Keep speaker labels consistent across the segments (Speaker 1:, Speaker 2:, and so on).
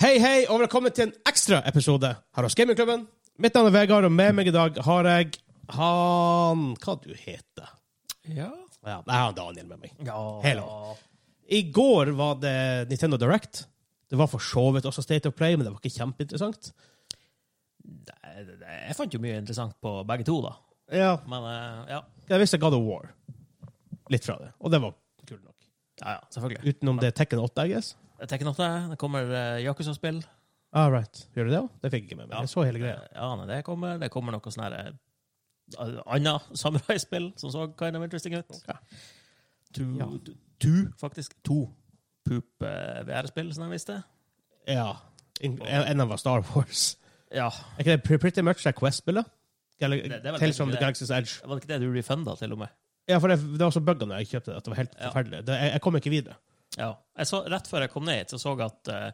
Speaker 1: Hei, hei, og velkommen til en ekstra episode her hos Gamingklubben. Mitt navn er Vegard, og med meg i dag har jeg han Hva du heter
Speaker 2: Ja.
Speaker 1: ja, Jeg har Daniel med meg.
Speaker 2: ja.
Speaker 1: Hello. I går var det Nintendo Direct. Det var for så vidt også State of Play, men det var ikke kjempeinteressant.
Speaker 2: Nei, det- det- Jeg fant jo mye interessant på begge to, da.
Speaker 1: Ja.
Speaker 2: Men eh, ja.
Speaker 1: Jeg visste God of War. Litt fra det. Og det var kult nok.
Speaker 2: Ja, ja, selvfølgelig.
Speaker 1: Utenom det Tekken 8, I guess.
Speaker 2: Jeg tenker nok det. Det kommer uh, Yakuza-spill.
Speaker 1: Ah, right. Gjør du det òg? Det fikk jeg ikke med meg.
Speaker 2: Ja.
Speaker 1: Jeg så hele greia.
Speaker 2: Ja, nei, det kommer. Det kommer noe sånn her eh, anna samurai-spill som så kind of interesting ut.
Speaker 1: Ok.
Speaker 2: To,
Speaker 1: Ja.
Speaker 2: to, faktisk. To poop eh, VR-spill, som jeg visste.
Speaker 1: Ja. En en av dem var Star Wars.
Speaker 2: Ja.
Speaker 1: Er ikke det pre- pretty much det Quest-spillet? Gal
Speaker 2: det er vel
Speaker 1: Tales from the
Speaker 2: det.
Speaker 1: Galaxy's Edge.
Speaker 2: Var det ikke det du refunda, til og med?
Speaker 1: Ja, for det, det var så bugga når jeg kjøpte det, at det var helt
Speaker 2: Ja.
Speaker 1: forferdelig. Det, jeg, jeg kom ikke videre.
Speaker 2: Ja. Jeg så, rett før jeg kom ned hit, så så jeg at eh,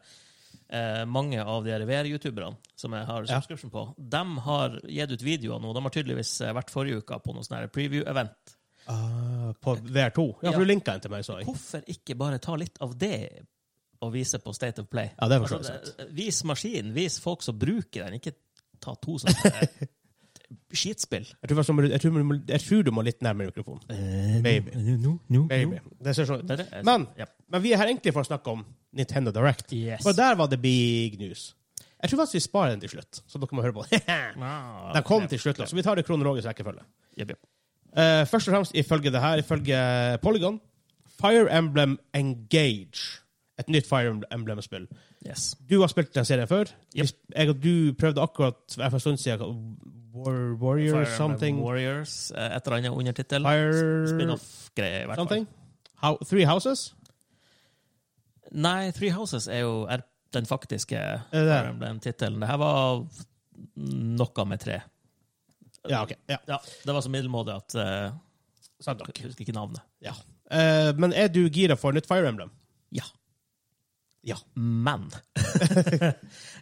Speaker 2: eh, mange av de her VR-youtuberne som jeg har
Speaker 1: Ja.
Speaker 2: subscription på, de har gitt ut videoer nå. De har tydeligvis eh, vært forrige uka på noe sånn her preview-event.
Speaker 1: på VR2. Ja, for
Speaker 2: Ah, Ja.
Speaker 1: du linka den til meg, så jeg.
Speaker 2: Hvorfor ikke bare ta litt av det og vise på State of Play?
Speaker 1: Ja, det er for så vidt
Speaker 2: Altså, det- vis maskinen, vis folk som bruker den, ikke ta to sånne her skitspill.
Speaker 1: Jeg tror, faktisk du må- jeg, tror, du må- jeg tror du må litt nærmere mikrofonen.
Speaker 2: Eh,
Speaker 1: Maybe. Baby. Det ser sånn ut.
Speaker 2: Det er det.
Speaker 1: Men,
Speaker 2: Ja.
Speaker 1: men vi er her egentlig for å snakke om Nintendo Direct.
Speaker 2: Yes.
Speaker 1: For der var det big news. Jeg tror faktisk vi sparer den til slutt, så dere må høre på den.
Speaker 2: Ah,
Speaker 1: den kom til slutt, da, så vi tar det i kronologisk rekkefølge.
Speaker 2: Jepp, jepp.
Speaker 1: Eh, først og fremst ifølge det her, ifølge Polygon, Fire Emblem Engage. Et nytt Fire Emblem- Emblem-spill.
Speaker 2: Yes.
Speaker 1: Du har spilt den serien før.
Speaker 2: Yep.
Speaker 1: Hvis- Jeg og du prøvde akkurat for en stund siden War, Warrior
Speaker 2: Fire Emblem
Speaker 1: something.
Speaker 2: Warriors, eh, et eller annet undertittel.
Speaker 1: Fire-
Speaker 2: Spin-off-greie, i hvert fall.
Speaker 1: something. How, three Houses?
Speaker 2: Nei, Three Houses er jo er den faktiske
Speaker 1: Er det det?
Speaker 2: Fire Emblem-tittelen. Det her var noe med tre.
Speaker 1: Ja, OK. Ja,
Speaker 2: Ja, det var så middelmådig at eh,
Speaker 1: sant nok.
Speaker 2: Jeg husker ikke navnet.
Speaker 1: Ja. Eh, men er du gira for nytt Fire Emblem?
Speaker 2: Ja.
Speaker 1: Ja.
Speaker 2: Men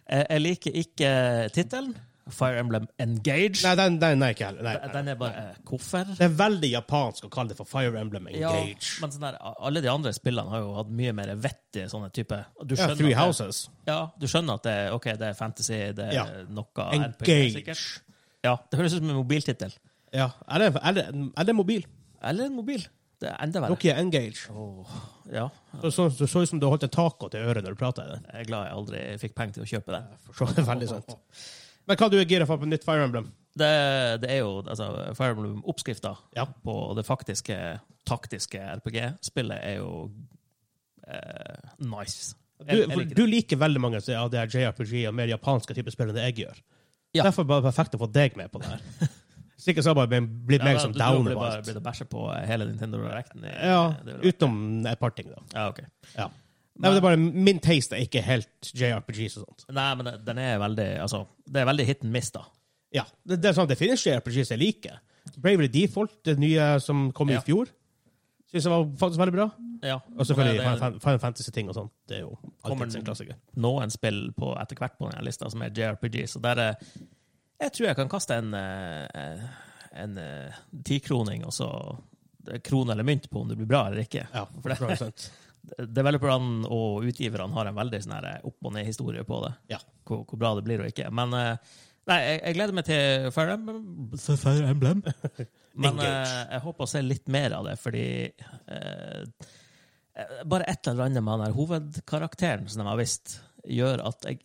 Speaker 2: Eh, jeg jeg liker ikke tittelen. Fire Emblem Engage.
Speaker 1: Nei, den, den er ikke heller. Nei, nei.
Speaker 2: den er bare eh, Hvorfor?
Speaker 1: Det er veldig japansk å kalle det for Fire Emblem
Speaker 2: Ja,
Speaker 1: Engage.
Speaker 2: men sånn der, alle de andre spillene har jo hatt mye mer vettige sånne type du
Speaker 1: Ja,
Speaker 2: skjønner
Speaker 1: three
Speaker 2: at det-
Speaker 1: Houses.
Speaker 2: Ja, du skjønner at det, er- ok, det er fantasy, det er
Speaker 1: Ja.
Speaker 2: noe RPG,
Speaker 1: Engage.
Speaker 2: sikkert. Ja, det høres ut som en mobiltittel.
Speaker 1: Ja. Er det, er, det, er det mobil?
Speaker 2: Eller en mobil. Det er enda verre.
Speaker 1: Nokia Engage.
Speaker 2: Åh, ja,
Speaker 1: Så, så, så, så ut som du holdt en taco til øret når du prata i den.
Speaker 2: jeg er glad jeg aldri fikk penger til å kjøpe den.
Speaker 1: Så det er veldig sant. Men hva du er gira for på nytt Fire Emblem?
Speaker 2: Det, det er jo altså, Fire Emblem-oppskrifta
Speaker 1: Ja.
Speaker 2: på det faktiske, taktiske RPG-spillet er jo eh, nice.
Speaker 1: Du,
Speaker 2: Jeg, jeg
Speaker 1: for
Speaker 2: liker det.
Speaker 1: du liker veldig mange av de her JRPG og mer japanske typer spill enn det jeg gjør.
Speaker 2: Ja.
Speaker 1: Derfor var det perfekt å få deg med på det her. Sikkert så har det bare blitt meg
Speaker 2: Ja,
Speaker 1: som
Speaker 2: du- du
Speaker 1: downer
Speaker 2: blir
Speaker 1: på
Speaker 2: bare-
Speaker 1: alt.
Speaker 2: blir det bæsje på hele Nintendo Directen. i-
Speaker 1: Ja,
Speaker 2: det vil jeg-
Speaker 1: utenom et par ting, da.
Speaker 2: ja, ok.
Speaker 1: Ja. Nei, men det er bare, min taste er ikke helt JRPGs og sånt.
Speaker 2: Nei, men det- den er veldig altså, Det er veldig hit and miss, da.
Speaker 1: Ja, Det, det er sånn, det finnes JRPGs jeg liker. Bravely Default, det nye som kom
Speaker 2: Ja.
Speaker 1: i fjor, syns jeg var faktisk veldig bra.
Speaker 2: Ja.
Speaker 1: Og selvfølgelig
Speaker 2: det, det,
Speaker 1: Final- Final Fantasy-ting og sånt. Det er jo
Speaker 2: Kommer
Speaker 1: alltid en
Speaker 2: den-
Speaker 1: klassiker.
Speaker 2: noen spill på, etter hvert på denne lista som er JRPG, så der eh, Jeg tror jeg kan kaste en eh, en eh, tikroning, og så det er krone eller mynt på om det blir bra eller ikke.
Speaker 1: Ja,
Speaker 2: For det-
Speaker 1: for det, sant.
Speaker 2: Developerne og utgiverne har en veldig sånn her opp- og ned-historie på det,
Speaker 1: Ja.
Speaker 2: hvor, hvor bra det blir og ikke. Men eh, Nei, jeg, jeg gleder meg til Fire Emblem. Fire Emblem. Men
Speaker 1: Engage.
Speaker 2: eh, jeg håper å se litt mer av det, fordi eh, eh, Bare et eller annet med den her hovedkarakteren som de har visst, gjør at jeg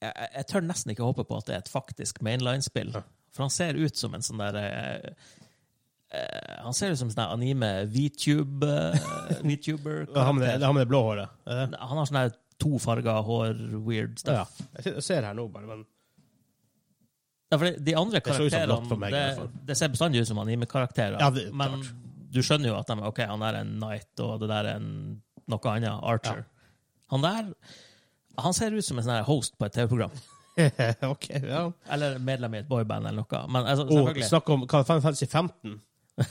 Speaker 2: jeg, jeg- jeg tør nesten ikke håpe på at det er et faktisk mainline-spill.
Speaker 1: Ja.
Speaker 2: For han ser ut som en sånn der eh, eh, Han ser ut som en sånn der anime VTube,
Speaker 1: Det er
Speaker 2: eh,
Speaker 1: han med det,
Speaker 2: VTuber-karakter.
Speaker 1: det, er han med det blå håret. Er det det?
Speaker 2: Han har sånn her to farger hår, weird
Speaker 1: Ja.
Speaker 2: stuff.
Speaker 1: Jeg ser- Jeg ser her nå, bare. Men
Speaker 2: Ja, for de andre
Speaker 1: så ut som blått for
Speaker 2: karakterene
Speaker 1: meg, i
Speaker 2: det,
Speaker 1: hvert fall.
Speaker 2: det ser bestandig ut som anime-karakterer.
Speaker 1: Ja, det-
Speaker 2: men
Speaker 1: klart.
Speaker 2: du skjønner jo at de, ok, han der er en knight, og det der er en, noe annet. Archer. Han der han ser ut som en sånn her host på et TV-program.
Speaker 1: OK, ja.
Speaker 2: Eller medlem i et boyband eller noe. Men altså,
Speaker 1: Og
Speaker 2: selvfølgelig.
Speaker 1: snakk om hva, Final Fantasy 15.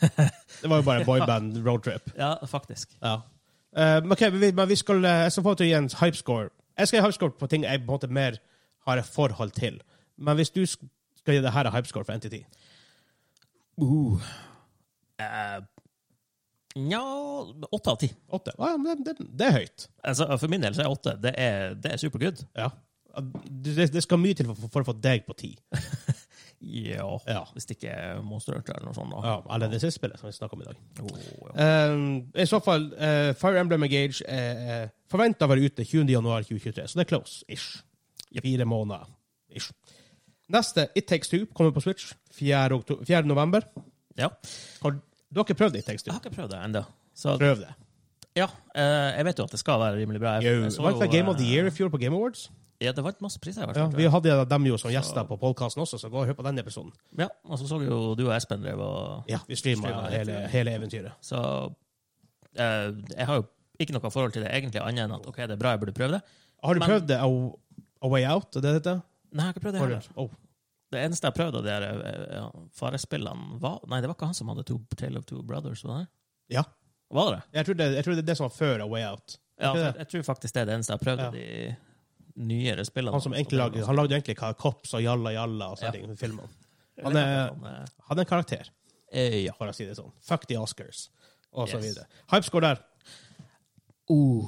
Speaker 1: Det var jo bare boyband roadtrip.
Speaker 2: Ja, faktisk.
Speaker 1: Ja. Eh, men ok, men vi, men vi skal, eh, jeg skal få til å gi en hypescore. Jeg skal gi hypescore på ting jeg på en måte mer har et forhold til. Men hvis du sk- skal gi det Uh. her en hypescore fra 1 til 10
Speaker 2: Uh. Eh, Nja, åtte av ti.
Speaker 1: Åtte. Ja, men det, det, det er høyt.
Speaker 2: Altså, for min del så er åtte. Det er, det er supergood.
Speaker 1: Ja. Det, det skal mye til for, for å få deg på ti.
Speaker 2: Ja.
Speaker 1: Ja.
Speaker 2: Hvis det ikke er Monster Hunter eller noe sånt. Da.
Speaker 1: Ja, eller det siste spillet som vi snakket om i dag.
Speaker 2: Oh, ja.
Speaker 1: Um, I så fall, eh, Fire Emblem Engage uh, forventa å være ute 20. januar 2023, så det er close-ish. Fire måneder. Ish. Neste, It Takes Two, kommer på Switch 4. okto- 4. november.
Speaker 2: ja.
Speaker 1: Har du har ikke prøvd It Takes
Speaker 2: Jeg
Speaker 1: Two?
Speaker 2: har ikke prøvd det ennå. Så
Speaker 1: Prøv det.
Speaker 2: ja, eh, jeg vet jo at det skal være rimelig bra. Jeg,
Speaker 1: Jo,
Speaker 2: jeg så
Speaker 1: vant
Speaker 2: jo,
Speaker 1: vel Game of the
Speaker 2: eh,
Speaker 1: Year i fjor på Game Awards.
Speaker 2: Ja, det vant masse priser. i hvert
Speaker 1: Ja,
Speaker 2: fall, tror
Speaker 1: vi
Speaker 2: jeg.
Speaker 1: hadde dem jo som gjester på podkasten også, så gå og hør på den episoden.
Speaker 2: Ja, og så så jo du og Espen drev og
Speaker 1: Ja, Vi streama
Speaker 2: Streama
Speaker 1: hele,
Speaker 2: etter.
Speaker 1: hele eventyret.
Speaker 2: Så eh, jeg har jo ikke noe forhold til det egentlig, annet enn at ok, det er bra, jeg burde prøve det.
Speaker 1: Har du
Speaker 2: Men-
Speaker 1: prøvd det, A, A Way Out? Er det det heter?
Speaker 2: Nei, jeg har ikke prøvd det
Speaker 1: Har du-
Speaker 2: heller.
Speaker 1: Oh.
Speaker 2: Det eneste jeg prøvde av de der, eh, ja, farespillene, var Nei, det var ikke han som hadde to, Tale of Two Brothers, var det?
Speaker 1: Ja.
Speaker 2: Var det?
Speaker 1: Jeg tror det, jeg tror det er det som var før A Way Out.
Speaker 2: Ja,
Speaker 1: Ikke det?
Speaker 2: for jeg tror faktisk det er det eneste jeg har prøvd av de nyere spillene.
Speaker 1: Han som egentlig lagde, han lagde egentlig ka- Cops og Jalla Jalla og sånne
Speaker 2: Ja.
Speaker 1: ting i filmene. Han er,
Speaker 2: Han,
Speaker 1: hadde en karakter,
Speaker 2: eh, ja.
Speaker 1: for å si det sånn. Fuck the Oscars, og så
Speaker 2: Yes.
Speaker 1: videre. Hypescore der.
Speaker 2: Uh,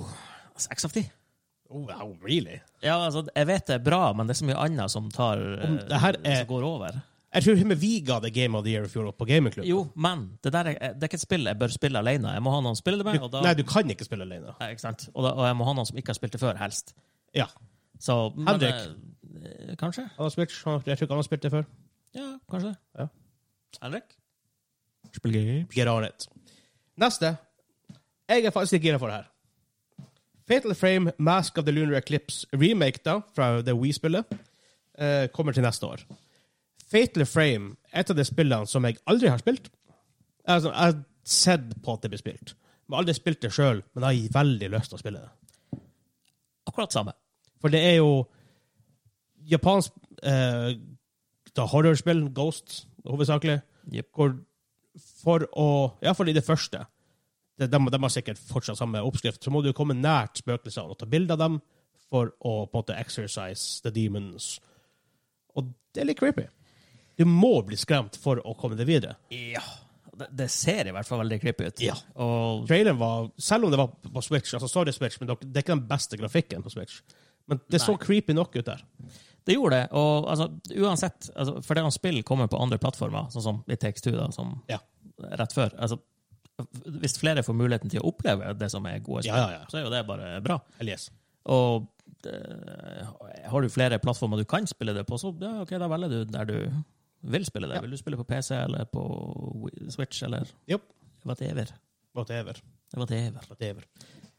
Speaker 2: Seks av ti.
Speaker 1: Oh, wow, really?
Speaker 2: Ja, altså, jeg vet det er bra, men det er så mye annet som tar eh,
Speaker 1: Om det her er-
Speaker 2: Som går over.
Speaker 1: Jeg tror med vi ga det Game of the Year i fjor på gamingklubben.
Speaker 2: Jo, men det der er, det er ikke et spill jeg bør spille alene. Jeg må ha noen å spille det med,
Speaker 1: Du,
Speaker 2: og da
Speaker 1: Nei, du kan ikke spille alene.
Speaker 2: Nei, ikke sant? Og, da, og jeg må ha noen som ikke har spilt det før, helst.
Speaker 1: Ja.
Speaker 2: Så, men,
Speaker 1: Henrik.
Speaker 2: eh, kanskje?
Speaker 1: Han har spilt, han, jeg tror ikke han har spilt det før.
Speaker 2: Ja, kanskje det.
Speaker 1: Ja.
Speaker 2: Henrik?
Speaker 1: Spill games. Get on it. Neste. Jeg er faktisk ikke gira for det her. Fatal Frame Mask of the Lunar Eclipse remake da, fra det Wii-spillet eh, kommer til neste år. Fatal Frame er et av de spillene som jeg aldri har spilt. Altså, jeg har sett på at det blir spilt. Jeg har aldri spilt det sjøl, men jeg har veldig lyst til å spille det.
Speaker 2: Akkurat samme.
Speaker 1: For det er jo japansk eh, da horrorspill, Ghost, hovedsakelig,
Speaker 2: Jep.
Speaker 1: hvor for å Iallfall i det første. De, de, de har sikkert fortsatt samme oppskrift. Så må du komme nært spøkelsene og ta bilde av dem for å på en måte exercise the demons. Og det er litt creepy. Du må bli skremt for å komme deg videre.
Speaker 2: Ja. Det, det ser i hvert fall veldig creepy ut.
Speaker 1: Ja.
Speaker 2: Og
Speaker 1: Traileren var, selv om det var på Switch, altså sorry Switch, men det er ikke den beste grafikken på Switch. Men det så
Speaker 2: Nei.
Speaker 1: creepy nok ut der.
Speaker 2: det gjorde det. Og altså, uansett, altså, for det om spill kommer på andre plattformer, sånn som i Takes-Two, da, som
Speaker 1: Ja.
Speaker 2: rett før altså, Hvis flere får muligheten til å oppleve det som er gode spill,
Speaker 1: Ja, ja, ja.
Speaker 2: så er jo det bare bra.
Speaker 1: Eller yes.
Speaker 2: Og eh, har du flere plattformer du kan spille det på, så ja, ok, da velger du der du vil spille det.
Speaker 1: Ja.
Speaker 2: Vil du spille på PC eller på Wii- Switch eller
Speaker 1: Jopp.
Speaker 2: whatever?
Speaker 1: Whatever.
Speaker 2: Whatever.
Speaker 1: whatever.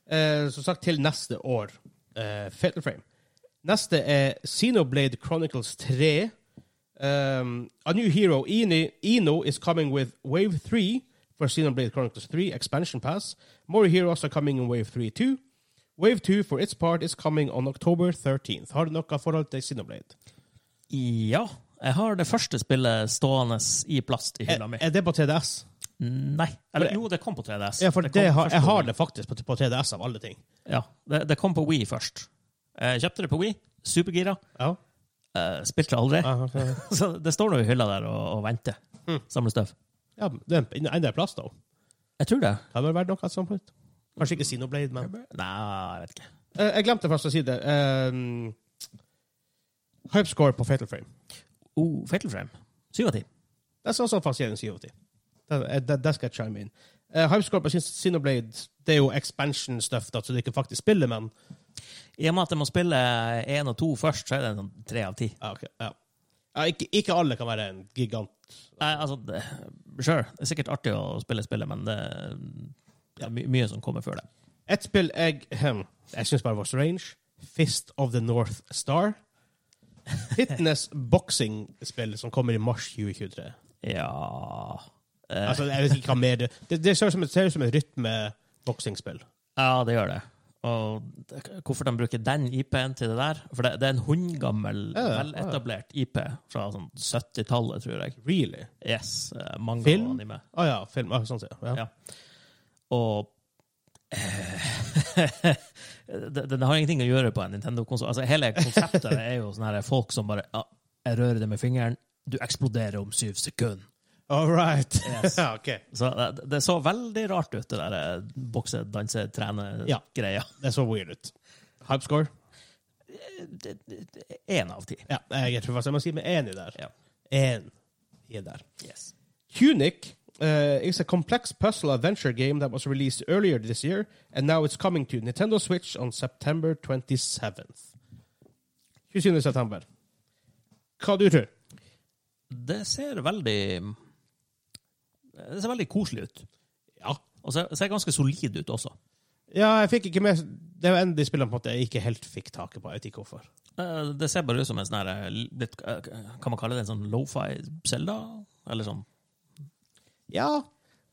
Speaker 1: Eh, som sagt, til neste år. Eh, Fatal Frame. Neste er Xenoblade Chronicles 3. Um, a new hero, Ino, Ino, is coming with Wave 3 for Xenoblade Chronicles 3 Expansion Pass. More heroes are coming in Wave 3 too. Wave 2 for its part is coming on October 13th. Har du noe forhold til Xenoblade?
Speaker 2: Ja. Jeg har det første spillet stående i plast i
Speaker 1: Er,
Speaker 2: hylla mi.
Speaker 1: er det på TDS?
Speaker 2: Nei. Eh, Eller jo, det kom på 3DS.
Speaker 1: Ja, for det,
Speaker 2: kom
Speaker 1: har,
Speaker 2: først
Speaker 1: jeg
Speaker 2: på
Speaker 1: har
Speaker 2: Wii.
Speaker 1: det faktisk på, på TDS av alle ting.
Speaker 2: Ja, det, det kom på Wii først. Jeg kjøpte det på Wii. Supergira.
Speaker 1: Ja.
Speaker 2: Eh, spilte det aldri.
Speaker 1: Ah, okay.
Speaker 2: Så det står nå i hylla der og, og venter. Samler støv.
Speaker 1: ja, men det er en- en del plass, da.
Speaker 2: Jeg tror det.
Speaker 1: Kan vel være noe sånt. punkt. Kanskje ikke Sinoblade, men
Speaker 2: Nei, jeg vet ikke.
Speaker 1: Eh, Jeg glemte først å si det. Um, Hypescore på Fatal Frame.
Speaker 2: Oh, Fatal Frame. Syv av ti.
Speaker 1: Det er også fascinerende 7 av 10. Det, eh, det, det skal jeg chime inn. Uh, Hypescore på Sin- Sinoblade det er jo expansion stuff, da, så du ikke faktisk spiller, men
Speaker 2: I og med at jeg må spille én og to først, så er det en sånn tre av ti.
Speaker 1: ja, ok, ja. Ja, ikke, ikke alle kan være en gigant.
Speaker 2: Nei, altså, det, sure. Det er sikkert artig å spille spillet, men det, det er my mye som kommer før det.
Speaker 1: Et spill jeg hm, Jeg syns bare var strange. Fist of the North Star. Fitness boxing-spill som kommer i mars 2023.
Speaker 2: Ja Eh,
Speaker 1: Altså, jeg vet ikke hva mer Det, det, det ser ut som et, ser ut som et rytme-boksingspill.
Speaker 2: Ja, det gjør det. Og det- hvorfor de bruker den IP-en til det der? For det, det er en hundgammel,
Speaker 1: Ja, ja.
Speaker 2: veletablert IP fra sånn 70-tallet, tror jeg.
Speaker 1: Really?
Speaker 2: Yes, eh, Manga
Speaker 1: Film?
Speaker 2: og anime.
Speaker 1: Å ja, film. Ah, sånn, ja. Ja.
Speaker 2: Ja. Og eh, det, det har ingenting å gjøre på en Nintendo-konsoll. Altså, hele konseptet sånn er jo sånne her folk som bare ja, Jeg rører det med fingeren, du eksploderer om syv sekunder.
Speaker 1: All right.
Speaker 2: Yes.
Speaker 1: ja, ok.
Speaker 2: Så eh, det, det så veldig rart ut, det der eh, bokse, danse,
Speaker 1: Ja.
Speaker 2: trene-greia.
Speaker 1: Det så weird ut. Hype score?
Speaker 2: Én av ti.
Speaker 1: Ja, jeg tror faktisk jeg må si med én i der.
Speaker 2: Ja.
Speaker 1: Én i der.
Speaker 2: Yes.
Speaker 1: Tunic uh, is a complex puzzle adventure game that was released earlier this year, and now it's coming to Nintendo Switch on September 27th. 27. september. Hva du tror?
Speaker 2: Det ser veldig Det ser veldig koselig ut.
Speaker 1: Ja.
Speaker 2: Og ser, ser ganske solid ut også.
Speaker 1: Ja, jeg fikk ikke med Det var en av de spillene på en måte jeg ikke helt fikk taket på. Jeg vet ikke hvorfor.
Speaker 2: Eh, Det ser bare ut som en sånn her eh, litt, eh, Kan man kalle det en sånn lo-fi Zelda? Eller sånn
Speaker 1: Ja,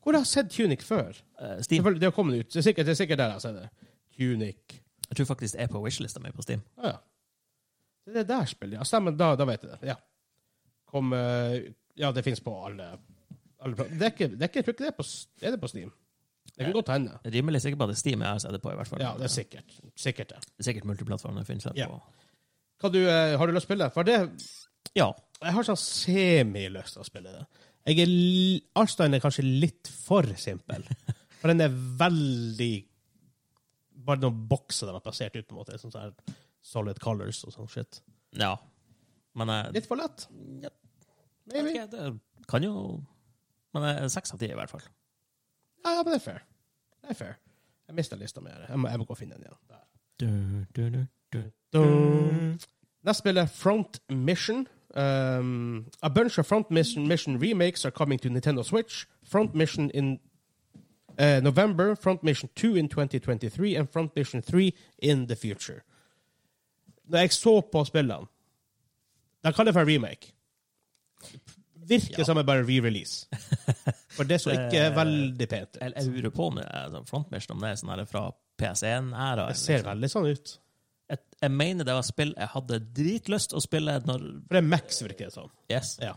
Speaker 1: hvor har jeg sett Tunic før?
Speaker 2: eh, Steam.
Speaker 1: Selvfølgelig, det har kommet ut. Det er sikkert, det er sikkert der jeg har sett det. Tunic.
Speaker 2: Jeg tror faktisk det er på wishlista mi på Steam.
Speaker 1: Ah, ja. Det er det der spillet, ja. Stemmer, da, da vet jeg det. Ja, Kom, eh, ja det fins på alle, alle pla- det er ikke, det er ikke, Jeg tror ikke det er på, S- er det på Steam. Det kan
Speaker 2: Ja.
Speaker 1: godt hende.
Speaker 2: Jeg er Rimelig sikker på at det er Steam jeg har sett det på. i hvert fall.
Speaker 1: Ja, det er sikkert. Sikkert det.
Speaker 2: Det er sikkert multiplattformen det finnes her
Speaker 1: Ja.
Speaker 2: på.
Speaker 1: Hva du, eh, har du lyst til å spille? For det,
Speaker 2: Ja.
Speaker 1: jeg har sånn semi-lyst til å spille det. Jeg er, l- Arnstein er kanskje litt for simpel. For den er veldig Bare noen bokser de har plassert ut, på en måte. Sånn sånn her solid colors og sånn shit.
Speaker 2: ja. Men jeg,
Speaker 1: Litt for lett.
Speaker 2: Ja.
Speaker 1: Maybe.
Speaker 2: Ok, det kan jo Men det er seks av ti, i hvert fall.
Speaker 1: Ja, ja, men det er fair. Det er fair. Jeg mista lista mi. her. Jeg, må- jeg må gå og finne den igjen. Der. Dun. Neste spillet er Front Mission. Um, a bunch of Front Mission, Mission remakes are coming to Nintendo Switch. Front Mission in uh, November, Front Mission 2 in 2023 and Front Mission 3 in the future. Når jeg så på spillene De kaller det for en remake. Virker
Speaker 2: Ja.
Speaker 1: som en bare re-release. For det så ikke
Speaker 2: Eh,
Speaker 1: veldig pent ut.
Speaker 2: Jeg, jeg lurer på om det er sånn frontmission, om det er sånn her fra PS1-æra.
Speaker 1: Det ser veldig sånn ut.
Speaker 2: Jeg, jeg mener det var spill jeg hadde dritlyst å spille når
Speaker 1: For det er Max, virker det som.
Speaker 2: Yes.
Speaker 1: Ja.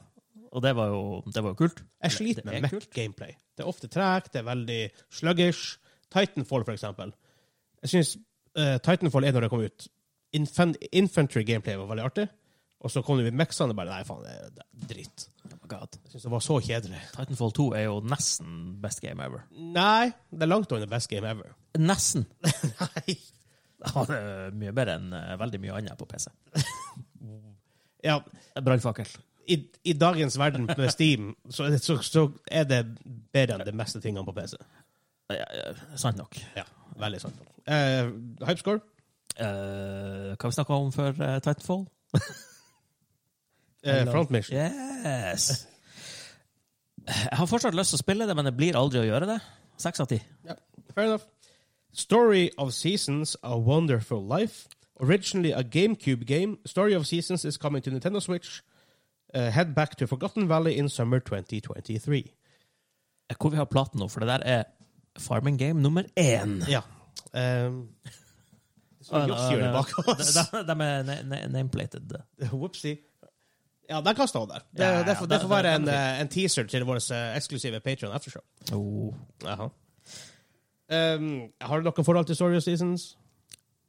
Speaker 2: Og det var jo, det var jo kult.
Speaker 1: Jeg sliter
Speaker 2: Det
Speaker 1: med
Speaker 2: er
Speaker 1: Mac-gameplay. Det er ofte tregt, det er veldig sluggish. Titanfall, for eksempel. Jeg syns Titanfall 1, når det kom ut infan Infantry-gameplay var veldig artig. Og så kom det med Max-ene og bare Nei, faen, det er- det er dritt.
Speaker 2: Oh my God.
Speaker 1: Jeg syns det var så kjedelig.
Speaker 2: Titanfall 2 er jo nesten best game ever.
Speaker 1: Nei, det er langt under best game ever.
Speaker 2: Nesten!
Speaker 1: Nei.
Speaker 2: Ja, det er mye bedre enn eh, veldig mye annet på PC.
Speaker 1: Ja,
Speaker 2: Brannfakkel.
Speaker 1: i, i dagens verden med Steam, så er, det, så, så er det bedre enn de meste tingene på PC.
Speaker 2: Ja, ja, sant nok.
Speaker 1: Ja, veldig sant. Eh, Hypescore?
Speaker 2: Eh, hva vi snakka om før eh, Titanfall?
Speaker 1: Eh,
Speaker 2: Hello.
Speaker 1: front Mission.
Speaker 2: Yes! Jeg har fortsatt lyst til å spille det, men det blir aldri å gjøre det. Seks av ti.
Speaker 1: Yeah, fair enough. Story of Seasons: A Wonderful Life. Originally a GameCube game, Story of Seasons is coming to Nintendo Switch. Uh, head back to Forgotten Valley in summer 2023.
Speaker 2: Eh, Hvor vi har platen nå, for det der er farming game nummer én.
Speaker 1: Ja. Um, så Yoshi gjør det bak oss.
Speaker 2: De, de er na- na- nameplated.
Speaker 1: Whoopsie. Ja, den kan stå der. Det,
Speaker 2: Ja, ja, ja.
Speaker 1: det, får, det får
Speaker 2: Den-
Speaker 1: være en,
Speaker 2: den er
Speaker 1: eh, en teaser til vår eh, eksklusive Patreon aftershow.
Speaker 2: Oh.
Speaker 1: Jaha. Um, har du noe forhold til Story of Seasons?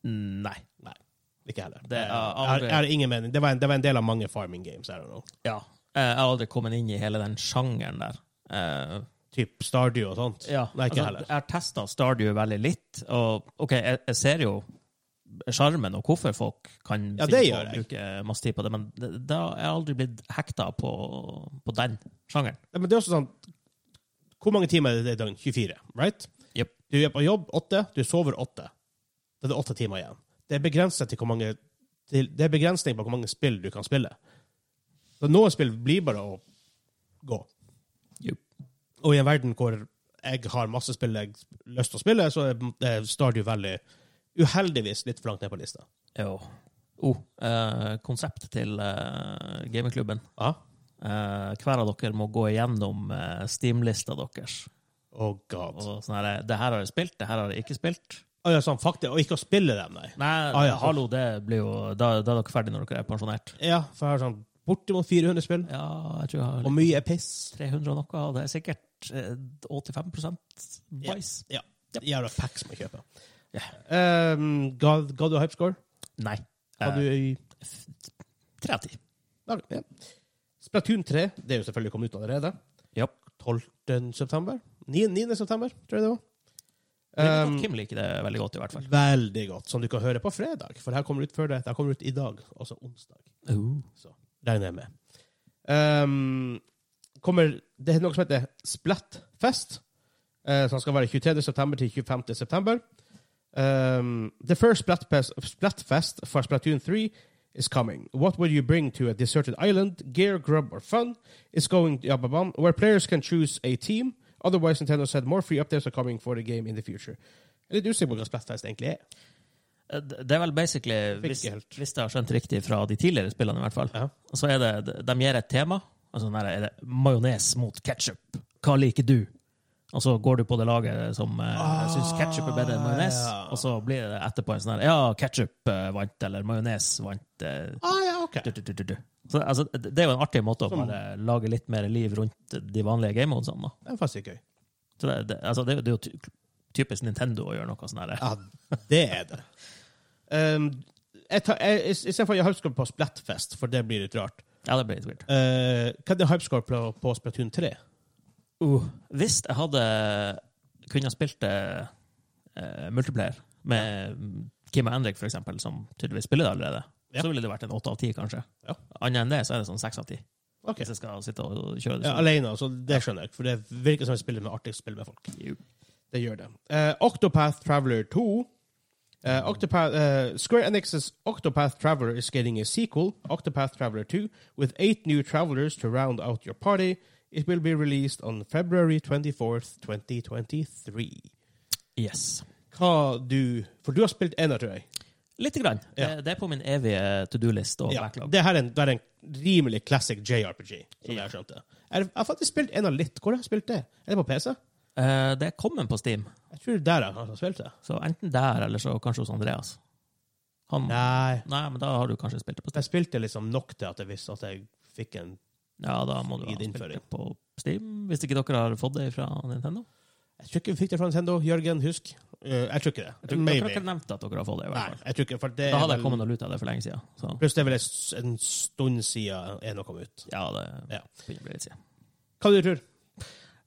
Speaker 2: Nei.
Speaker 1: Nei. Ikke heller.
Speaker 2: Det er
Speaker 1: jeg, har-
Speaker 2: aldri-
Speaker 1: jeg har ingen mening. Det var, en, det var en del av mange farming games. I don't know.
Speaker 2: Ja. Eh, Jeg har aldri kommet inn i hele den sjangeren der. Eh,
Speaker 1: Typ Stardew og sånt.
Speaker 2: ja,
Speaker 1: Nei, ikke
Speaker 2: altså,
Speaker 1: heller.
Speaker 2: Jeg har testa Stardew veldig litt, og OK, jeg, jeg ser jo sjarmen og hvorfor folk kan
Speaker 1: Ja,
Speaker 2: finne
Speaker 1: det
Speaker 2: på
Speaker 1: gjør
Speaker 2: å
Speaker 1: jeg.
Speaker 2: bruke masse tid på det, men det- da jeg har jeg aldri blitt hekta på, på den sjangeren.
Speaker 1: Nei, Men det er også sånn Hvor mange timer er det i døgn? 24, right?
Speaker 2: Jep.
Speaker 1: Du er på jobb åtte, du sover åtte. Da er det åtte timer igjen. Det er begrenset til hvor mange til, Det er begrensning på hvor mange spill du kan spille. Så noen spill blir bare å gå.
Speaker 2: Jep.
Speaker 1: Og i en verden hvor jeg har masse spill jeg har lyst til å spille, så er det Stardew veldig uheldigvis litt for langt ned på lista.
Speaker 2: Jo. Oh, eh, konsept til eh, gamingklubben.
Speaker 1: Ja.
Speaker 2: Eh, hver av dere må gå igjennom eh, Steam-lista deres.
Speaker 1: Oh god.
Speaker 2: Og sånn her, det her har jeg spilt, det her har jeg ikke spilt.
Speaker 1: Å, ja, sånn, faktisk, og ikke å spille dem, nei.
Speaker 2: Nei,
Speaker 1: Ah, ja.
Speaker 2: hallo, det blir jo da, da er dere ferdig når dere er pensjonert.
Speaker 1: Ja, for jeg har sånn bortimot 400 spill,
Speaker 2: Ja, jeg tror jeg har
Speaker 1: og mye er piss.
Speaker 2: 300 og noe, og det er sikkert eh, 85 bæsj.
Speaker 1: Ja. Jævla packs må jeg kjøpe.
Speaker 2: Ja.
Speaker 1: Ehm, ga, ga du hypescore?
Speaker 2: Nei.
Speaker 1: Ga
Speaker 2: Eh,
Speaker 1: du i-
Speaker 2: 30.
Speaker 1: ja. Splatoon 3, det er jo selvfølgelig kommet ut allerede.
Speaker 2: Ja.
Speaker 1: 12. september? 9. 9. september, tror jeg det var.
Speaker 2: Jeg vet
Speaker 1: Um,
Speaker 2: at Kim liker det veldig godt, i hvert fall.
Speaker 1: veldig godt, som du kan høre på fredag. For det her kommer ut før det. Det her kommer ut i dag, altså onsdag. Regner jeg med. Um, kommer, det er noe som heter Splatfest, eh, som skal være 23. september til 25. september. Um, the first Splatfest, Splatfest for Splatoon 3 is coming. What would you bring to a deserted island? Gear, grub, or fun? It's going to Yababam, where players can choose a team. Otherwise, Nintendo said more free updates are coming for the game in the future. Jeg er litt usikker på hva Splatfest egentlig er.
Speaker 2: Eh, Det det er vel basically,
Speaker 1: Fikk
Speaker 2: hvis,
Speaker 1: ikke helt.
Speaker 2: hvis jeg har skjønt riktig fra de tidligere spillene, i hvert fall,
Speaker 1: Ja.
Speaker 2: så er det De gir et tema. Altså, der er det majones mot ketsjup. Hva liker du? Og så går du på det laget som eh,
Speaker 1: Ah,
Speaker 2: syns ketsjup er bedre enn majones,
Speaker 1: ja.
Speaker 2: og så blir det etterpå en sånn her Ja, ketsjup vant, eller majones vant. eh,
Speaker 1: Ah, ja, ok.
Speaker 2: du, du, du, du, du. Så, altså, det er jo en artig måte å
Speaker 1: Sånn.
Speaker 2: bare lage litt mer liv rundt de vanlige gamemodene. da.
Speaker 1: Det er faktisk gøy.
Speaker 2: Så det, det, altså, det, er jo- det er jo ty- typisk Nintendo å gjøre noe sånn her.
Speaker 1: Ja, det er det. Um, jeg tar, jeg, I stedet for å gi hypescore på Splatfest, for det blir litt rart
Speaker 2: Ja, det blir litt weird.
Speaker 1: uh, Hva er det hypescore på, på Splatoon 3?
Speaker 2: Uh, hvis jeg hadde kunne ha spilt eh, eh, multiplayer med Kim og Henrik, for eksempel, som tydeligvis spiller det allerede,
Speaker 1: Ja.
Speaker 2: så ville det vært en åtte av ti, kanskje.
Speaker 1: Ja.
Speaker 2: Annet enn det, så er det sånn seks av ti.
Speaker 1: Ok.
Speaker 2: Hvis jeg skal sitte og kjøre det
Speaker 1: Ja,
Speaker 2: sånn.
Speaker 1: alene, altså, det skjønner jeg, for det virker som et spill med artig spill med folk.
Speaker 2: Jo.
Speaker 1: Det gjør det. Eh, Octopath Traveler 2 eh, Octopath, eh, Square Enix's Octopath Traveler is getting a sequel, Octopath Traveler 2, with eight new travelers to round out your party. It will be released on February 24th, 2023.
Speaker 2: Yes.
Speaker 1: hva du For du har spilt én av, tror jeg.
Speaker 2: Lite grann.
Speaker 1: Ja.
Speaker 2: Eh, Det er på min evige to do-list og
Speaker 1: Ja,
Speaker 2: backlog.
Speaker 1: det her er en, det er en rimelig classic JRPG, som jeg har skjønt det. Er, jeg har faktisk spilt en av litt. Hvor har jeg spilt det? Er det på PC?
Speaker 2: Eh, det er kommet på Steam,
Speaker 1: Jeg tror det er der jeg har spilt det.
Speaker 2: så enten der eller så kanskje hos Andreas. Han, nei.
Speaker 1: Nei.
Speaker 2: men da har du kanskje spilt det på Steam.
Speaker 1: Jeg spilte liksom nok til at jeg visste at jeg fikk en
Speaker 2: Ja, da må du ha
Speaker 1: Gi det
Speaker 2: spilt
Speaker 1: innføring.
Speaker 2: det på Steam, hvis ikke dere har fått det fra Nintendo.
Speaker 1: Jeg tror ikke vi fikk det fra Nintendo. Jørgen, husk. Eh, jeg tror ikke det.
Speaker 2: Jeg tror, dere har
Speaker 1: Maybe.
Speaker 2: ikke nevnt at dere har fått det. i
Speaker 1: Nei, eh,
Speaker 2: hvert fall.
Speaker 1: jeg tror ikke, for det
Speaker 2: Da
Speaker 1: er
Speaker 2: hadde jeg
Speaker 1: vel,
Speaker 2: kommet og luta det for lenge siden. Så
Speaker 1: Pluss det er vel en s- en stund siden en har kommet ut.
Speaker 2: ja, det
Speaker 1: Ja.
Speaker 2: begynner å bli litt siden.
Speaker 1: Hva du tror du?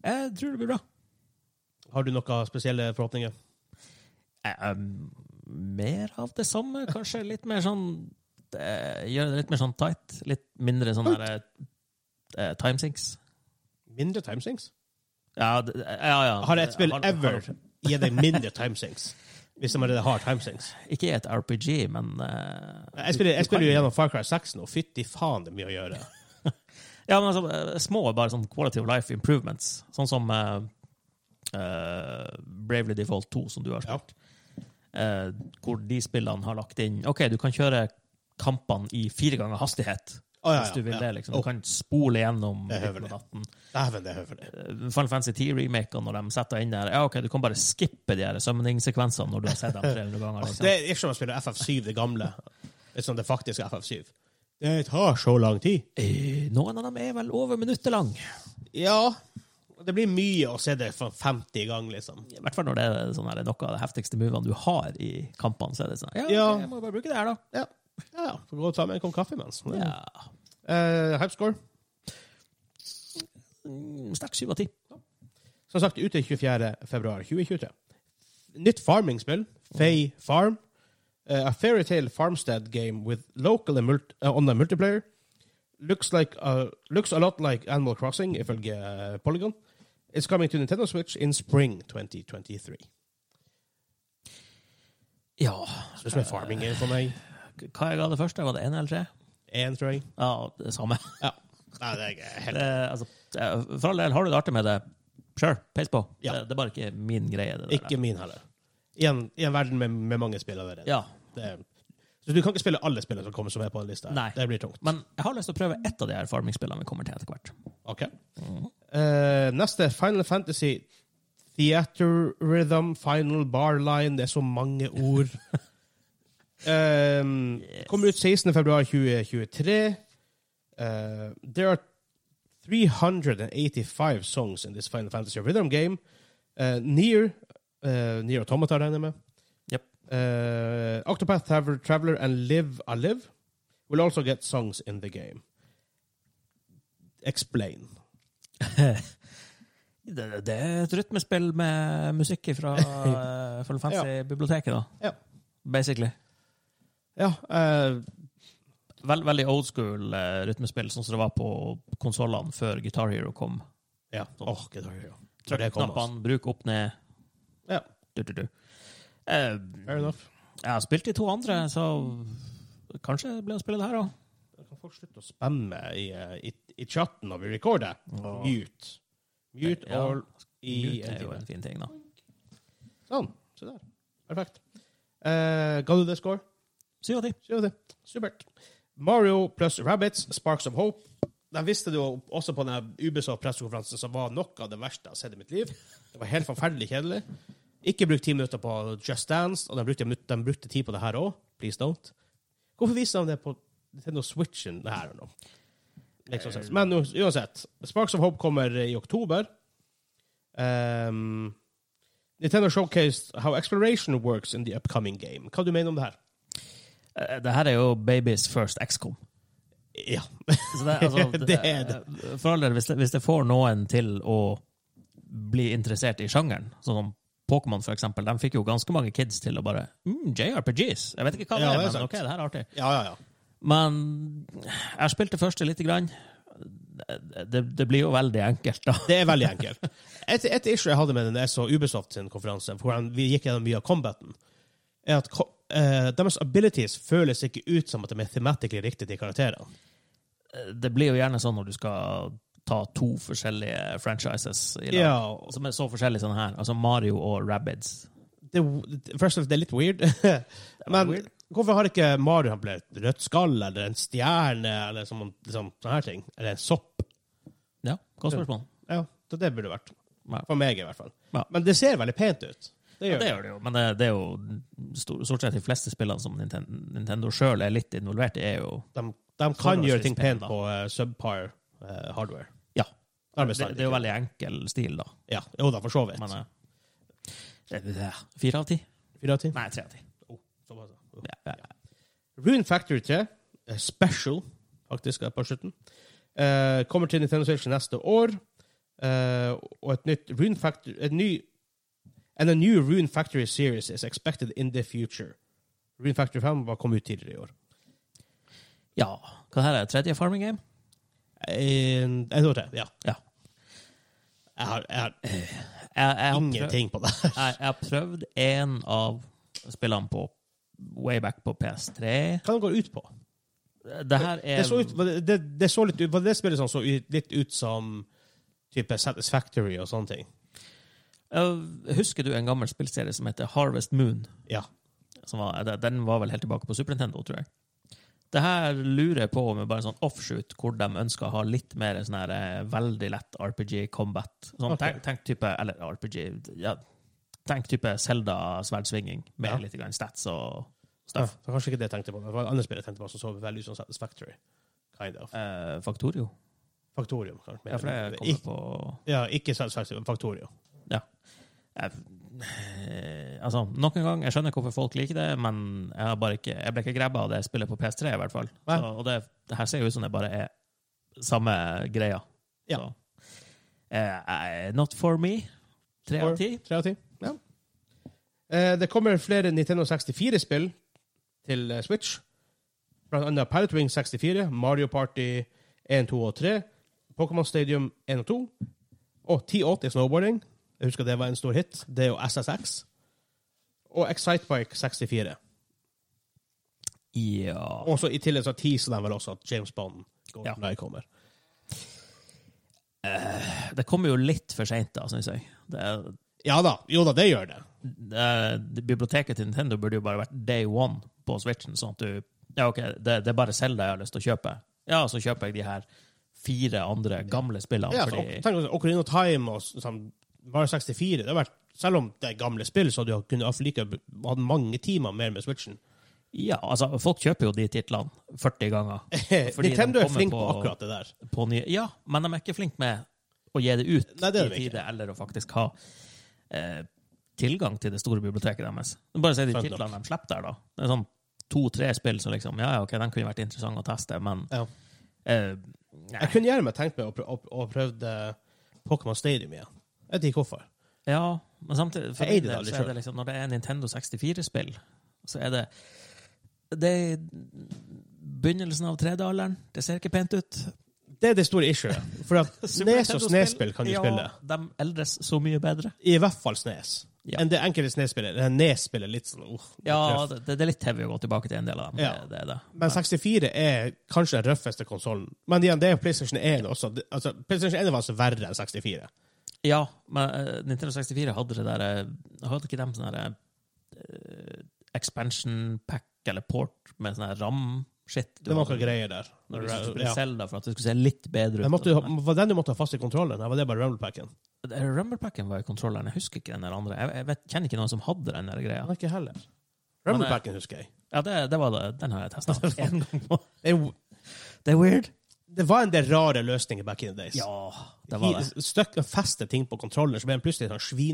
Speaker 2: Jeg tror det blir bra.
Speaker 1: Har du noen spesielle forhåpninger?
Speaker 2: Eh, um, mer av det samme, kanskje litt mer sånn eh, Gjøre det litt mer sånn tight. Litt mindre sånn der eh, timesinks.
Speaker 1: Mindre timesinks?
Speaker 2: Ja, det- eh, ja, ja.
Speaker 1: Har et spill
Speaker 2: Har- har-
Speaker 1: ever gitt deg mindre timesinks? Hvis de allerede har timesinks.
Speaker 2: Ikke et RPG, men eh,
Speaker 1: Jeg spiller,
Speaker 2: du- du
Speaker 1: jeg spiller
Speaker 2: kan-
Speaker 1: jo gjennom Far Cry 6 nå. Fytti faen, det er mye å gjøre.
Speaker 2: Ja, men altså, eh, små bare sånn quality of life improvements. Sånn som eh, eh, Bravely Default 2, som du har spilt. Eh, hvor de spillene har lagt inn OK, du kan kjøre kampene i fire ganger hastighet.
Speaker 1: Å, ja,
Speaker 2: hvis du
Speaker 1: ja,
Speaker 2: vil
Speaker 1: ja.
Speaker 2: det, liksom.
Speaker 1: Å.
Speaker 2: Du kan spole gjennom
Speaker 1: Det er høvelig.
Speaker 2: rytmen av natten.
Speaker 1: Dæven, det er høvelig.
Speaker 2: Eh, Final Fantasy 10-remakene, når de setter inn der Ja, OK, du kan bare skippe de her summoning-sekvensene når du har sett dem 300 ganger.
Speaker 1: Altså,
Speaker 2: Liksom.
Speaker 1: det er ikke som å spille FF7, det gamle. Det er sånn det faktisk er FF7. Det tar så lang tid.
Speaker 2: Eh, Noen av dem er vel over minuttet lang.
Speaker 1: Ja. Det blir mye å se det for 50 gang, liksom.
Speaker 2: I hvert fall når det er sånn her, noe av de heftigste movene du har i kampene. Så er det sånn Ja,
Speaker 1: Ja.
Speaker 2: ok, jeg må bare bruke det her, da.
Speaker 1: Ja. ja. Får gå og ta med en kopp kaffe Eh, imens. Ja.
Speaker 2: Ja.
Speaker 1: Hypescore.
Speaker 2: Mm, Sterk syv av ti.
Speaker 1: Som sagt, ute 24. februar 2023. Nytt farming-spill, Fay Farm. Uh, a fairytale farmstead game with local and mult uh, online multiplayer. Looks like uh, looks a lot like Animal Crossing, ifølge uh, Polygon. It's coming to Nintendo Switch in spring 2023.
Speaker 2: Ja.
Speaker 1: Så det som er farming game for meg.
Speaker 2: Hva jeg ga det første? Var det én eller tre?
Speaker 1: Én, tror jeg.
Speaker 2: Ja, det samme.
Speaker 1: Ja. Nei, det er helt...
Speaker 2: Det, altså, eh, for all del, har du det artig med det, sure, peis på.
Speaker 1: Ja.
Speaker 2: Det, det er bare ikke min greie. det der.
Speaker 1: Ikke min heller. I en, i en verden med, med mange spill allerede.
Speaker 2: Ja,
Speaker 1: Det er- Så du kan ikke spille alle spillene som kommer som er på den lista. her.
Speaker 2: Nei.
Speaker 1: Det blir tungt.
Speaker 2: Men jeg har lyst til å prøve ett av de her farmingspillene vi kommer til etter hvert.
Speaker 1: Ok. Eh, neste er Final Fantasy Theater Rhythm Final Bar Line. Det er så mange ord. um, Kommer ut 16. februar 2023. Eh, there are 385 songs in this Final Fantasy Rhythm game. Uh, Near, uh, Near Automata regner jeg med.
Speaker 2: Yep.
Speaker 1: Eh, Octopath Traveler, Traveler and Live a Live will also get songs in the game. Explain.
Speaker 2: Det, det er et rytmespill med musikk fra eh, Final Fantasy-biblioteket, da.
Speaker 1: Ja.
Speaker 2: Basically.
Speaker 1: Ja, eh,
Speaker 2: Vel- veldig old school eh, rytmespill, sånn som det var på konsollene før Guitar Hero kom.
Speaker 1: ja.
Speaker 2: Sånn.
Speaker 1: Åh, Guitar Hero. Tror det
Speaker 2: Trykk
Speaker 1: kom, altså.
Speaker 2: knappene, bruk opp ned.
Speaker 1: Ja.
Speaker 2: Du, du, du. Eh,
Speaker 1: Fair enough.
Speaker 2: jeg har spilt de to andre, så kanskje jeg blir å spille det her òg.
Speaker 1: Da kan folk slutte å spamme i, eh, i, i chatten når vi recorder.
Speaker 2: Ja.
Speaker 1: Mute. Mute
Speaker 2: Ja.
Speaker 1: all i
Speaker 2: Mute
Speaker 1: en
Speaker 2: er jo
Speaker 1: time.
Speaker 2: en fin ting, da.
Speaker 1: Sånn. Se der. Perfekt. Eh, ga du det score?
Speaker 2: Syv av ti.
Speaker 1: Så gjør vi det. Supert. Mario pluss Rabbits, Sparks of Hope. De visste det jo også på denne Ubisoft-pressekonferansen, som var noe av det verste jeg har sett i mitt liv. Det var helt forferdelig kjedelig. Ikke brukt ti minutter på Just Dance, og de brukte, de brukte tid på det her òg. Please don't. Hvorfor viser de det på Nintendo Switchen? Det her er noe. Liksom sett. Men u- uansett, Sparks of Hope kommer i oktober. Ehm, Nintendo showcased how exploration works in the upcoming game. Hva du mener om det her?
Speaker 2: Eh, Det her er jo Babies First XCOM.
Speaker 1: Ja.
Speaker 2: Så det, altså, det,
Speaker 1: Det er det.
Speaker 2: For all del, hvis det, hvis det får noen til å bli interessert i sjangeren, sånn som Pokémon, for eksempel, de fikk jo ganske mange kids til å bare mm, JRPGs. Jeg vet ikke hva det
Speaker 1: Ja,
Speaker 2: er,
Speaker 1: det er
Speaker 2: men
Speaker 1: sant.
Speaker 2: ok, det her er artig.
Speaker 1: Ja, ja, ja.
Speaker 2: Men jeg spilte første lite grann. Det, det blir jo veldig enkelt, da.
Speaker 1: Det er veldig enkelt. Et, et issue jeg hadde med den jeg så Ubisoft sin konferanse, hvor han- vi gikk gjennom mye av combaten, er at ko- eh, deres abilities føles ikke ut som at de er thematically riktige til karakterene.
Speaker 2: Det blir jo gjerne sånn når du skal ta to forskjellige franchises i lag,
Speaker 1: Ja, og
Speaker 2: som er så forskjellige sånn her. Altså Mario og Rabbids.
Speaker 1: det, first of all, det er litt weird. Men
Speaker 2: weird.
Speaker 1: hvorfor har ikke Mario han ble et rødt skall, eller en stjerne, eller sånn- liksom, sånne her ting? Eller en sopp?
Speaker 2: Ja, godt spørsmål.
Speaker 1: Ja, det, det burde det vært.
Speaker 2: Ja.
Speaker 1: For meg, i hvert fall.
Speaker 2: Ja.
Speaker 1: Men det ser veldig pent ut. Det
Speaker 2: Ja,
Speaker 1: gjør
Speaker 2: det
Speaker 1: det.
Speaker 2: gjør det jo, men det, det er jo stor, stort sett de fleste spillene som Nintendo, Nintendo sjøl er litt involvert i, er jo
Speaker 1: De, de kan gjøre ting pent på eh, subpar eh, hardware.
Speaker 2: Ja.
Speaker 1: Det er
Speaker 2: Det,
Speaker 1: bestandig
Speaker 2: det er jo veldig enkel stil, da.
Speaker 1: Ja, jo da, for så vidt.
Speaker 2: Men eh, det- det- det- Fire av ti?
Speaker 1: Fire av ti?
Speaker 2: Nei, tre av ti.
Speaker 1: Såpass, ja.
Speaker 2: Ja, ja.
Speaker 1: Rune Factory 3, eh, special, faktisk, er på slutten, eh, kommer til Nintendo Switch neste år. eh, og et nytt Rune Factory et ny, And a new Rune Factory series is expected in the future. Rune Factory 5 var kommet ut tidligere i år.
Speaker 2: ja. Hva her er tredje farming game?
Speaker 1: En, en år til, ja.
Speaker 2: Ja.
Speaker 1: Jeg har, jeg har
Speaker 2: Jeg, jeg, har prøvd,
Speaker 1: ingenting på det. her.
Speaker 2: jeg, jeg har prøvd en av spillene på way back på PS3.
Speaker 1: Hva den går ut på?
Speaker 2: Det her er
Speaker 1: Det så, ut, var det, det, det så litt ut var det spillet som så ut, litt ut som type Satisfactory og sånne ting.
Speaker 2: Eh, Husker du en gammel spillserie som heter Harvest Moon?
Speaker 1: Ja.
Speaker 2: som var, de- den var vel helt tilbake på Super Nintendo, tror jeg. Det her lurer jeg på om er bare en sånn offshoot hvor de ønsker å ha litt mer sånn her eh, veldig lett RPG-combat. Sånn,
Speaker 1: Ok.
Speaker 2: tenk, tenk type Eller RPG ja, Tenk type Selda-sverdsvinging med
Speaker 1: Ja.
Speaker 2: litt grann stats og
Speaker 1: Ja,
Speaker 2: stuff.
Speaker 1: det var kanskje ikke det jeg tenkte på. Det var et annet spill jeg tenkte på som så veldig ut som Satisfactory. Kind of.
Speaker 2: Eh, Factorio.
Speaker 1: Faktorium, kanskje. mer.
Speaker 2: Ja, for det
Speaker 1: Ik
Speaker 2: kommer på
Speaker 1: ja, ikke Satisfactory, men Faktorium.
Speaker 2: jeg, eh, Altså, nok en gang, jeg skjønner hvorfor folk liker det, men jeg, har bare ikke, jeg ble ikke grabba av det spillet på PS3, i hvert fall.
Speaker 1: Nei.
Speaker 2: Så, og det, det her ser jo ut som det bare er samme greia.
Speaker 1: Ja.
Speaker 2: Så, eh, eh, not for me. Tre
Speaker 1: For-
Speaker 2: av ti.
Speaker 1: Tre av ti. Ja. Eh, det kommer flere Nintendo 64-spill til eh, Switch. Blant annet Pilot Wing 64, Mario Party 1, 2 og 3, Pokémon Stadium 1 og 2, og 1080 Snowboarding. Jeg husker det var en stor hit. Det er jo SSX. Og Excitebike 64.
Speaker 2: Ja.
Speaker 1: Og så i tillegg så teaser de vel også at James Bond
Speaker 2: Ja.
Speaker 1: GoldenEye kommer.
Speaker 2: Det kommer jo litt for seint, da, syns jeg. Det er,
Speaker 1: Ja da, jo da, det gjør det.
Speaker 2: det er, biblioteket til Nintendo burde jo bare vært day one på Switchen, sånn at du Ja, OK, det, det er bare Zelda jeg har lyst til å kjøpe. Ja, så kjøper jeg de her fire andre gamle spillene,
Speaker 1: Ja, så,
Speaker 2: fordi
Speaker 1: tenk, også Ocarina of Time og sånn, Mario 64 det har vært, Selv om det er gamle spill, så du har kunnet hatt like, hatt mange timer mer med Switchen.
Speaker 2: Ja, altså, folk kjøper jo de titlene 40 ganger. Fordi
Speaker 1: Nintendo
Speaker 2: de
Speaker 1: er
Speaker 2: kommer
Speaker 1: flink på,
Speaker 2: på-
Speaker 1: akkurat det der.
Speaker 2: på nye Ja, men de er ikke flinke med å gi det ut
Speaker 1: Nei, det er de
Speaker 2: i
Speaker 1: ikke.
Speaker 2: tide, eller å faktisk ha eh, tilgang til det store biblioteket deres. Det er Bare å si de
Speaker 1: Sant nok.
Speaker 2: titlene de slipper der, da. Det er sånn to-tre spill som liksom Ja, ja, ok, den kunne vært interessant å teste, men
Speaker 1: Ja.
Speaker 2: eh, nei.
Speaker 1: Jeg kunne gjerne meg tenkt meg å, prø å, å prøve eh, Pokémon Stadium igjen. Jeg vet ikke hvorfor.
Speaker 2: Ja, men samtidig for
Speaker 1: Jeg eier det
Speaker 2: min del,
Speaker 1: aldri
Speaker 2: så er
Speaker 1: selv.
Speaker 2: det liksom, Når det er Nintendo 64-spill, så er det Det er begynnelsen av 3D-alderen. Det ser ikke pent ut.
Speaker 1: Det er det store issuet. For at
Speaker 2: Super
Speaker 1: Nes og
Speaker 2: Nintendo-spill,
Speaker 1: Snes-spill kan du
Speaker 2: ja,
Speaker 1: spille.
Speaker 2: De eldes så mye bedre.
Speaker 1: I hvert fall Snes.
Speaker 2: Ja.
Speaker 1: Enn det enkelte Snes-spillet. Det her Nes-spillet er litt sånn uh, litt
Speaker 2: Ja,
Speaker 1: røft.
Speaker 2: det, det er litt heavy å gå tilbake til en del av dem.
Speaker 1: Ja.
Speaker 2: Det, det er det.
Speaker 1: Men 64 er kanskje den røffeste konsollen. Men igjen, det er jo PlayStation 1 også. Det- Altså, PlayStation 1 var altså verre enn 64.
Speaker 2: Ja, men eh, Nintendo 64 hadde det der eh, Hadde ikke de sånn der eh, expansion pack eller port med sånn her ram-shit? Du
Speaker 1: Det var
Speaker 2: hadde-
Speaker 1: noen greier der.
Speaker 2: Når du skulle
Speaker 1: Ja.
Speaker 2: spille Zelda for at det skulle se litt bedre ut.
Speaker 1: Jeg måtte, jo
Speaker 2: og sånn
Speaker 1: ha- var den du måtte ha fast i kontrollen? Eller var det bare Rumble-packen?
Speaker 2: der. Det- Rumble-packen eh, var i kontrolleren. Jeg husker ikke den der andre. Jeg, jeg vet, kjenner ikke noen som hadde den der
Speaker 1: Den
Speaker 2: greia.
Speaker 1: er ikke heller. Rumble-packen husker jeg.
Speaker 2: Ja, det, det var det. Den har jeg testa én gang. også.
Speaker 1: Det, er jo-
Speaker 2: Det er weird.
Speaker 1: det var en del rare løsninger back in the days.
Speaker 2: Ja, det var det.
Speaker 1: Hi- Støkk og feste ting på kontrolleren, så ble den plutselig sånn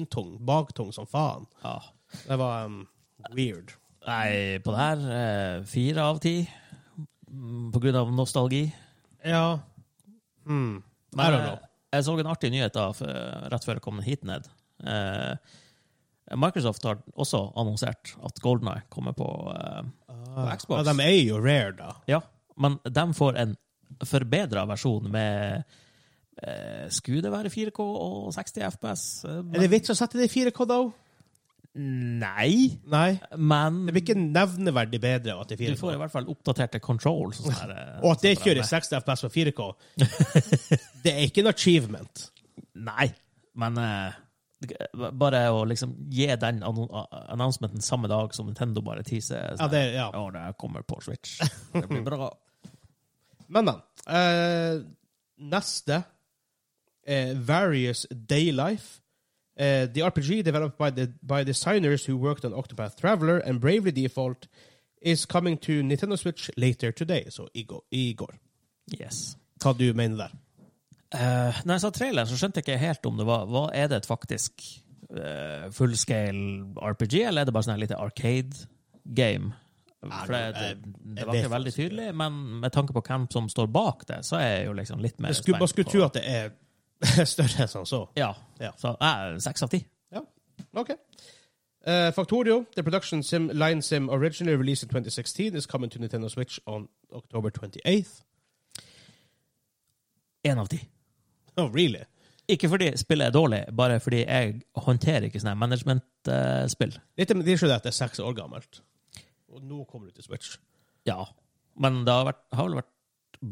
Speaker 1: svintung, baktung som faen.
Speaker 2: Ja.
Speaker 1: Det var um, weird.
Speaker 2: Nei, på det her eh, fire av ti. Mm, På grunn av nostalgi.
Speaker 1: Ja. Hmm. I
Speaker 2: Men
Speaker 1: don't
Speaker 2: jeg,
Speaker 1: know.
Speaker 2: Eh, jeg så en artig nyhet da, for, rett før jeg kom hit ned. Eh, Microsoft har også annonsert at Golden Eye kommer på, eh, på Xbox.
Speaker 1: Ja, de er jo rare, da.
Speaker 2: Ja, men de får en forbedra versjon med eh, Skulle det være 4K og 60 FPS? Eh,
Speaker 1: Er det vits å sette det i 4K, da?
Speaker 2: Men, nei,
Speaker 1: Nei.
Speaker 2: men
Speaker 1: Det blir ikke nevneverdig bedre at det er
Speaker 2: du
Speaker 1: 4K.
Speaker 2: får i hvert fall oppdaterte controls. og sånn der, eh,
Speaker 1: Og at det
Speaker 2: sånn
Speaker 1: kjører
Speaker 2: der.
Speaker 1: 60 FPS på 4K, det er ikke en achievement.
Speaker 2: Nei, men eh, det- bare å liksom gi den annon- a- announcementen samme dag som Nintendo bare teaser
Speaker 1: Ja,
Speaker 2: sånn,
Speaker 1: det, ja.
Speaker 2: «Å, det her kommer på Switch. Det blir bra.
Speaker 1: Men, men. eh, neste er Various Daylife. Eh, the RPG developed by, the, by designers who worked on Octopath Traveler and Bravely Default is coming to Nintendo Switch later today. Så i går. I går.
Speaker 2: Yes.
Speaker 1: Hva du mener der?
Speaker 2: Eh, når jeg sa traileren, så skjønte jeg ikke helt om det var Hva er det et faktisk eh, fullscale RPG, eller er det bare sånn her lite arcade game?
Speaker 1: Nei,
Speaker 2: For det, det,
Speaker 1: jeg-
Speaker 2: det
Speaker 1: jeg
Speaker 2: var
Speaker 1: vet
Speaker 2: ikke veldig
Speaker 1: faktisk ikke.
Speaker 2: tydelig, men med tanke på hvem som står bak det, så er jeg jo liksom litt mer
Speaker 1: Jeg skulle, man skulle
Speaker 2: på-
Speaker 1: tro at det er større enn som så.
Speaker 2: Ja.
Speaker 1: Ja.
Speaker 2: Så eh, seks av ti.
Speaker 1: Ok. Uh, Factorio, the production sim line sim originally released in 2016, is coming to Nintendo Switch on October 28th.
Speaker 2: Én av ti.
Speaker 1: Oh, really?
Speaker 2: Ikke fordi spillet er dårlig, bare fordi jeg håndterer ikke sånne management-spill.
Speaker 1: Litt med det skjønner jeg at det er seks år gammelt. Og nå kommer det til Switch.
Speaker 2: ja. Men det har, vært, har vel vært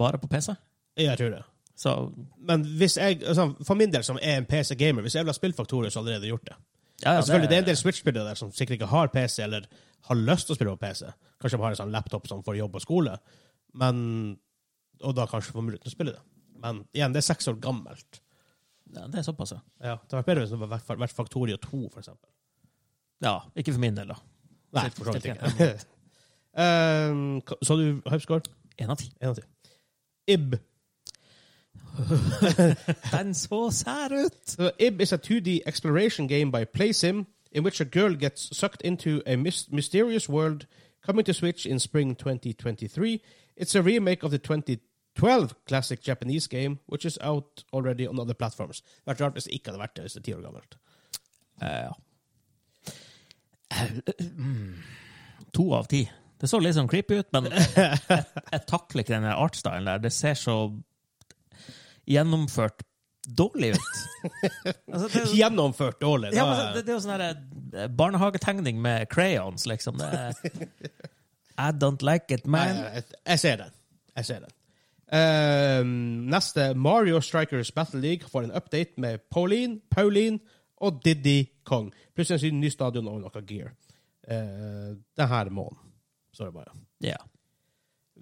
Speaker 2: bare på PC.
Speaker 1: Jeg tror det.
Speaker 2: Så
Speaker 1: Men hvis jeg, altså, for min del som er en PC-gamer, hvis jeg vil ha spilt Factorio, så har jeg allerede gjort det.
Speaker 2: ja, ja,
Speaker 1: Men selvfølgelig, det er en del Switch-spillere der som sikkert ikke har PC, eller har lyst til å spille på PC. Kanskje de har en sånn laptop som får jobb og skole, men, og da kanskje får muligheten til å spille det. Men igjen, det er seks år gammelt.
Speaker 2: Ja, det er såpass, ja.
Speaker 1: Ja, det hadde vært bedre hvis det hadde vært- vært Faktorio 2, for eksempel.
Speaker 2: ja. Ikke for min del, da.
Speaker 1: Nei,
Speaker 2: Still-
Speaker 1: for så vidt
Speaker 2: still
Speaker 1: ikke. um, hva- så du Hypescore?
Speaker 2: Én av ti.
Speaker 1: En gang til. IB.
Speaker 2: Den så sær ut!
Speaker 1: So, IB is a 2D exploration game by PlaySim in which a girl gets sucked into a mys- mysterious world coming to Switch in spring 2023. It's a remake of the 2012 classic Japanese game, which is out already on other platforms. Det hadde vært rart hvis det ikke hadde vært det, hvis det er ti år gammelt.
Speaker 2: Eh, ja. Eh, mm. To av ti. Det så litt sånn creepy ut, men jeg, jeg takler ikke den der artstylen der. Det ser så gjennomført dårlig ut. altså, det, er jo-
Speaker 1: Gjennomført dårlig. da-
Speaker 2: Ja, men så- det, det er jo sånn her eh, barnehagetegning med crayons, liksom. Det er, I don't like it,
Speaker 1: Nei,
Speaker 2: man.
Speaker 1: nei, jeg, jeg ser den. Jeg ser den. Ehm, neste Mario Strikers Battle League får en update med Pauline, Pauline og Diddy Kong. Pluss en sy- ny stadion og noe gear. Uh, det her måneden. Så er det bare.
Speaker 2: Ja.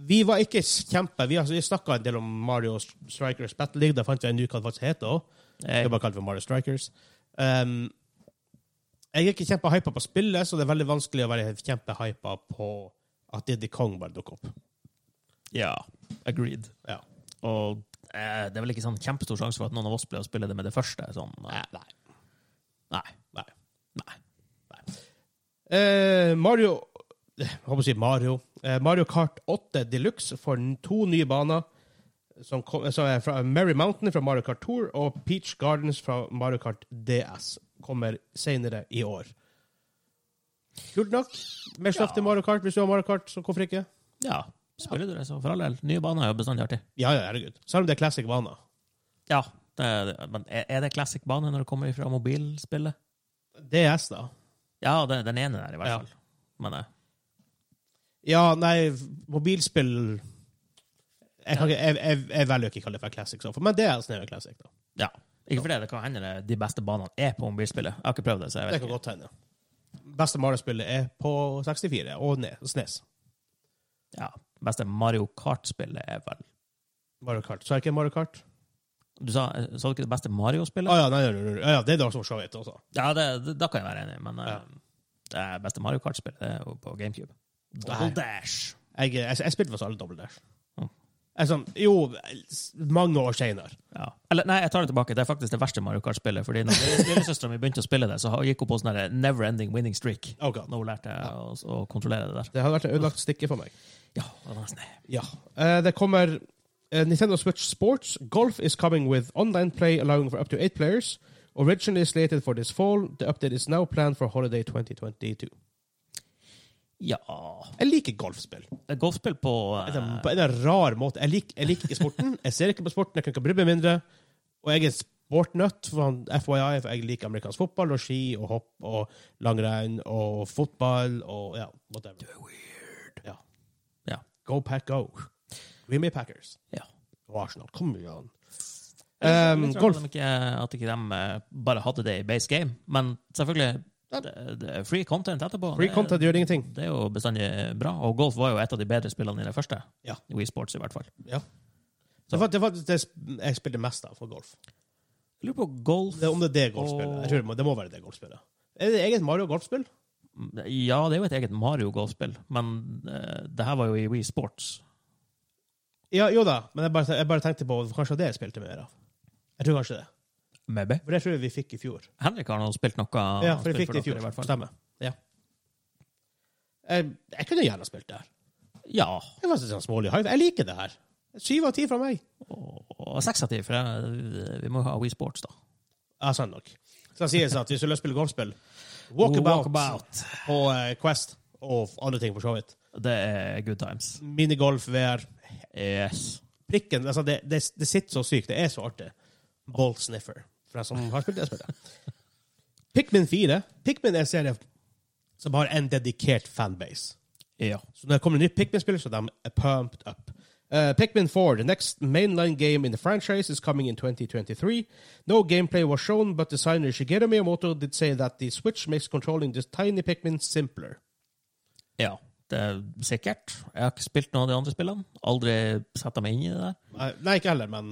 Speaker 1: Vi var ikke s- kjempe... Vi, altså, vi snakka en del om Mario St- Strikers Battle League. Da fant vi en ny hva det faktisk heter òg. Det er
Speaker 2: Jeg,
Speaker 1: bare kalt for Mario Strikers. Ehm, jeg er ikke kjempehypa på spillet, så det er veldig vanskelig å være kjempehypa på at Diddy Kong bare dukker opp.
Speaker 2: ja. Agreed.
Speaker 1: Ja.
Speaker 2: Og eh, det er vel ikke sånn kjempestor sjanse for at noen av oss blir å spille det med det første. Sånn, eh,
Speaker 1: Nei.
Speaker 2: nei.
Speaker 1: Nei.
Speaker 2: Nei.
Speaker 1: Eh, Mario Eh, Jeg håper å si Mario. Eh, Mario Kart 8 Deluxe får n- to nye baner. som, kom, som er fra Merry Mountain fra Mario Kart Tour og Peach Gardens fra Mario Kart DS. Kommer senere i år. Kult nok. Mer stoff
Speaker 2: Ja.
Speaker 1: til Mario Kart hvis du har Mario Kart, så hvorfor ikke?
Speaker 2: Ja. Spiller du det, så for all del. Nye baner er jo bestandig artig.
Speaker 1: Ja, ja, herregud. Selv om det er classic vaner.
Speaker 2: Ja, det, er- men er er det classic bane når det kommer fra mobilspillet?
Speaker 1: DS, da.
Speaker 2: Ja, det, den ene der, i hvert
Speaker 1: Ja.
Speaker 2: fall. Men eh,
Speaker 1: Ja, nei, mobilspill Jeg, kan, ikke- jeg, jeg, jeg velger ikke å kalle det for classic, sånn, for- men DS er jo classic, da.
Speaker 2: ja. Ikke fordi det kan hende det, de beste banene er på mobilspillet. Jeg har ikke prøvd det, så jeg
Speaker 1: Det
Speaker 2: vet
Speaker 1: kan
Speaker 2: ikke.
Speaker 1: godt hende. Beste Mario-spillet er på 64 og ned, SNES.
Speaker 2: Ja. Beste Mario Kart-spillet er vel
Speaker 1: Mario Kart. Så er det ikke Mario Kart?
Speaker 2: Du sa, sa du ikke det beste Mario-spillet?
Speaker 1: Å ja, nei, nei, nei, nei, ja, det er da som så vidt også.
Speaker 2: Ja, det, det, da kan jeg være enig, men eh,
Speaker 1: Ja.
Speaker 2: det beste Mario Kart-spillet det er jo på GameCube. Double
Speaker 1: Nei.
Speaker 2: Dash.
Speaker 1: Jeg, jeg, jeg spilte faktisk alle Double Dash.
Speaker 2: Mm.
Speaker 1: Jeg, sånn, jo, s- mange år senere.
Speaker 2: Ja. Eller, nei, jeg tar det tilbake. Det er faktisk det verste Mario Kart-spillet. Fordi når lillesøstera mi begynte å spille det, så gikk hun på sånn der never ending winning streak.
Speaker 1: Oh god.
Speaker 2: Når hun lærte å, å kontrollere det der.
Speaker 1: Det hadde vært en ødelagt stikke for meg.
Speaker 2: Ja, det var nesten det.
Speaker 1: Ja. Eh, det kommer eh, Nintendo Switch Sports. Golf is coming with online play allowing for up to eight players. Originally slated for this fall, the update is now planned for holiday 2022.
Speaker 2: Ja
Speaker 1: Jeg liker golfspill.
Speaker 2: Det er golfspill på
Speaker 1: Det er
Speaker 2: eh,
Speaker 1: på en rar måte. Jeg, lik, jeg liker ikke sporten. Jeg ser ikke på sporten, jeg kan ikke bry meg mindre. Og jeg er sportnøtt, for han- FYI, for jeg liker amerikansk fotball og ski og hopp og langrenn og fotball og ja, whatever. Du er weird. Ja.
Speaker 2: Ja.
Speaker 1: Go Pack Go. Green Bay Packers
Speaker 2: ja.
Speaker 1: og Arsenal. Kom igjen.
Speaker 2: Jeg er
Speaker 1: Um,
Speaker 2: litt rart
Speaker 1: golf.
Speaker 2: At de ikke, at ikke de eh, bare hadde det i base game. Men selvfølgelig,
Speaker 1: Ja.
Speaker 2: det, det er free content etterpå.
Speaker 1: Free
Speaker 2: Det-
Speaker 1: content gjør ingenting.
Speaker 2: Det er jo bestandig bra, og golf var jo et av de bedre spillene i det første.
Speaker 1: Ja.
Speaker 2: I Wii Sports, i hvert fall.
Speaker 1: Ja. Det var, det var det jeg spilte mest av for golf.
Speaker 2: Jeg lurer på golf
Speaker 1: Det, om det er det golfspillet. Jeg tror det må, det må være det golfspillet. Er det eget Mario golfspill?
Speaker 2: Ja, det er jo et eget Mario-golfspill, men eh, det her var jo i Wii Sports.
Speaker 1: Ja, jo da, men jeg bare, jeg bare tenkte på kanskje det jeg spilte mer av. Jeg tror kanskje det.
Speaker 2: Maybe.
Speaker 1: For det tror jeg vi fikk i fjor.
Speaker 2: Henrik har nå spilt noe
Speaker 1: Ja, for vi
Speaker 2: spilt
Speaker 1: fikk det i
Speaker 2: dere,
Speaker 1: fjor.
Speaker 2: i hvert fall.
Speaker 1: Stemmer. Ja. Jeg, jeg kunne gjerne spilt det her.
Speaker 2: Ja.
Speaker 1: Jeg, var sånn smålig. hype. jeg liker det her. Syv av ti fra meg.
Speaker 2: Og seks av ti, for jeg, vi må jo ha Wii Sports, da.
Speaker 1: Ja, sant nok. Så det sies at hvis du har lyst til å spille golfspill, walkabout
Speaker 2: Walkabout.
Speaker 1: på eh, Quest og andre ting for så vidt.
Speaker 2: Det er good times.
Speaker 1: Minigolf, VR
Speaker 2: Yes.
Speaker 1: Prikken altså det, det, det sitter så sykt. Det er så artig. Ball sniffer. For jeg som har spilt det, spillet. Pikmin 4. Pikmin er en serie som har en dedikert fanbase.
Speaker 2: Ja.
Speaker 1: Så når det kommer en ny Pikmin-spiller, så er de pumped up. Uh, Pikmin 4, the next mainline game in the franchise, is coming in 2023. No gameplay was shown, but designer Shigeru Miyamoto did say that the Switch makes controlling this tiny Pikmin simpler.
Speaker 2: ja. Det er sikkert. Jeg har ikke spilt noen av de andre spillene. Aldri satt meg inn i det der.
Speaker 1: Eh, nei, ikke heller, men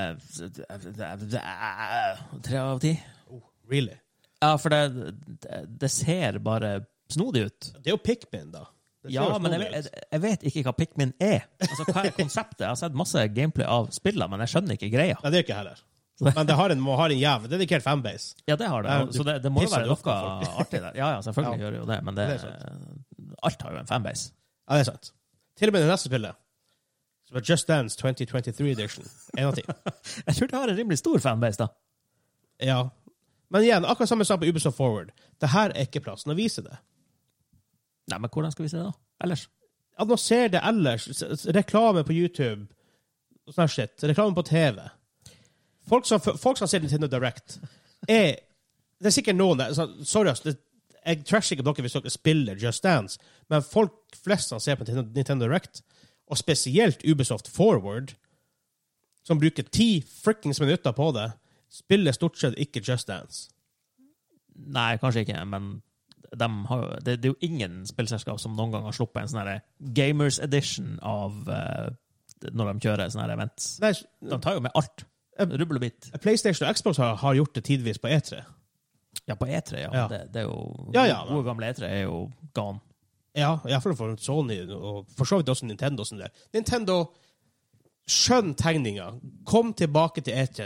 Speaker 2: Eh, det er- det er- det er- Tre av ti.
Speaker 1: oh, really.
Speaker 2: Ja, for det, det, det ser bare snodig ut.
Speaker 1: Det er jo Pikmin, da. Det ser
Speaker 2: Ja,
Speaker 1: jo
Speaker 2: men jeg,
Speaker 1: snodig ut.
Speaker 2: vet- jeg, jeg vet ikke hva Pikmin er. Altså, Hva er konseptet? Jeg har sett masse gameplay av spillene, men jeg skjønner ikke greia.
Speaker 1: Nei, det er ikke jeg heller. Men det har en, må- har en jævlig dedikert fanbase.
Speaker 2: Ja, det har det.
Speaker 1: Ja,
Speaker 2: og- Så det, det må jo
Speaker 1: pisser
Speaker 2: være
Speaker 1: du opp
Speaker 2: noe
Speaker 1: av
Speaker 2: artig der. Ja, ja, selvfølgelig gjør det jo det, men det,
Speaker 1: Det er
Speaker 2: alt har jo en fanbase.
Speaker 1: Ja, det er sant. Til og med det neste spillet, som er Just Dance 2023 Edition. En av ti.
Speaker 2: Jeg tror det har en rimelig stor fanbase, da.
Speaker 1: Ja. Men igjen, akkurat samme sak på Ubisoft Forward. Det her er ikke plassen å vise det.
Speaker 2: Nei, men hvordan skal vi se det, da? Ellers?
Speaker 1: Annonser det ellers. S- s- Reklame på YouTube. og Sånn her shit. Reklame på TV. Folk som, folk som ser Nintendo Direct, er Det er sikkert noen der så- Sorry, ass. det- Jeg trasher ikke dere hvis dere spiller Just Dance, men folk flest som ser på Nintendo- Nintendo Direct, og spesielt Ubisoft Forward, som bruker ti frikkings minutter på det, spiller stort sett ikke Just Dance.
Speaker 2: Nei, kanskje ikke, men dem har, jo- det, det er jo ingen spillselskap som noen gang har sluppet en sånn her Gamers Edition av eh, når de kjører sånne her events.
Speaker 1: Nei,
Speaker 2: De tar jo med alt. Rubbel og bit.
Speaker 1: PlayStation og Xbox har, har gjort det tidvis på E E3.
Speaker 2: Ja, på E3, ja.
Speaker 1: Ja.
Speaker 2: Det, det er jo
Speaker 1: Ja, ja,
Speaker 2: Gode, gamle E3 er jo gone.
Speaker 1: Ja, iallfall for Sony, og for så vidt også Nintendo. Sånn der. Nintendo, skjønn tegninga. Kom tilbake til E3.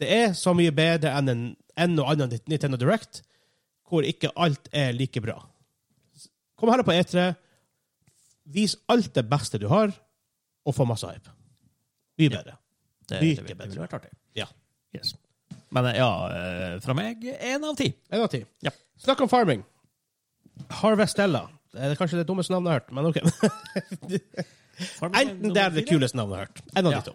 Speaker 1: Det er så mye bedre enn en, en og annen Nintendo Direct, hvor ikke alt er like bra. Kom her på E E3, vis alt det beste du har, og få masse hype. Mye bedre.
Speaker 2: Det,
Speaker 1: Mye
Speaker 2: det, vil- det
Speaker 1: bedre.
Speaker 2: ville vært artig.
Speaker 1: Ja.
Speaker 2: Yes. Men eh, ja, eh, fra meg én av ti.
Speaker 1: En av ti.
Speaker 2: Ja.
Speaker 1: Snakk om farming. Harvestella. Det er kanskje det dummeste navnet jeg har hørt, men OK.
Speaker 2: Farming
Speaker 1: Enten det er det
Speaker 2: nummer fire.
Speaker 1: kuleste navnet jeg har hørt. En av
Speaker 2: Ja.
Speaker 1: de to.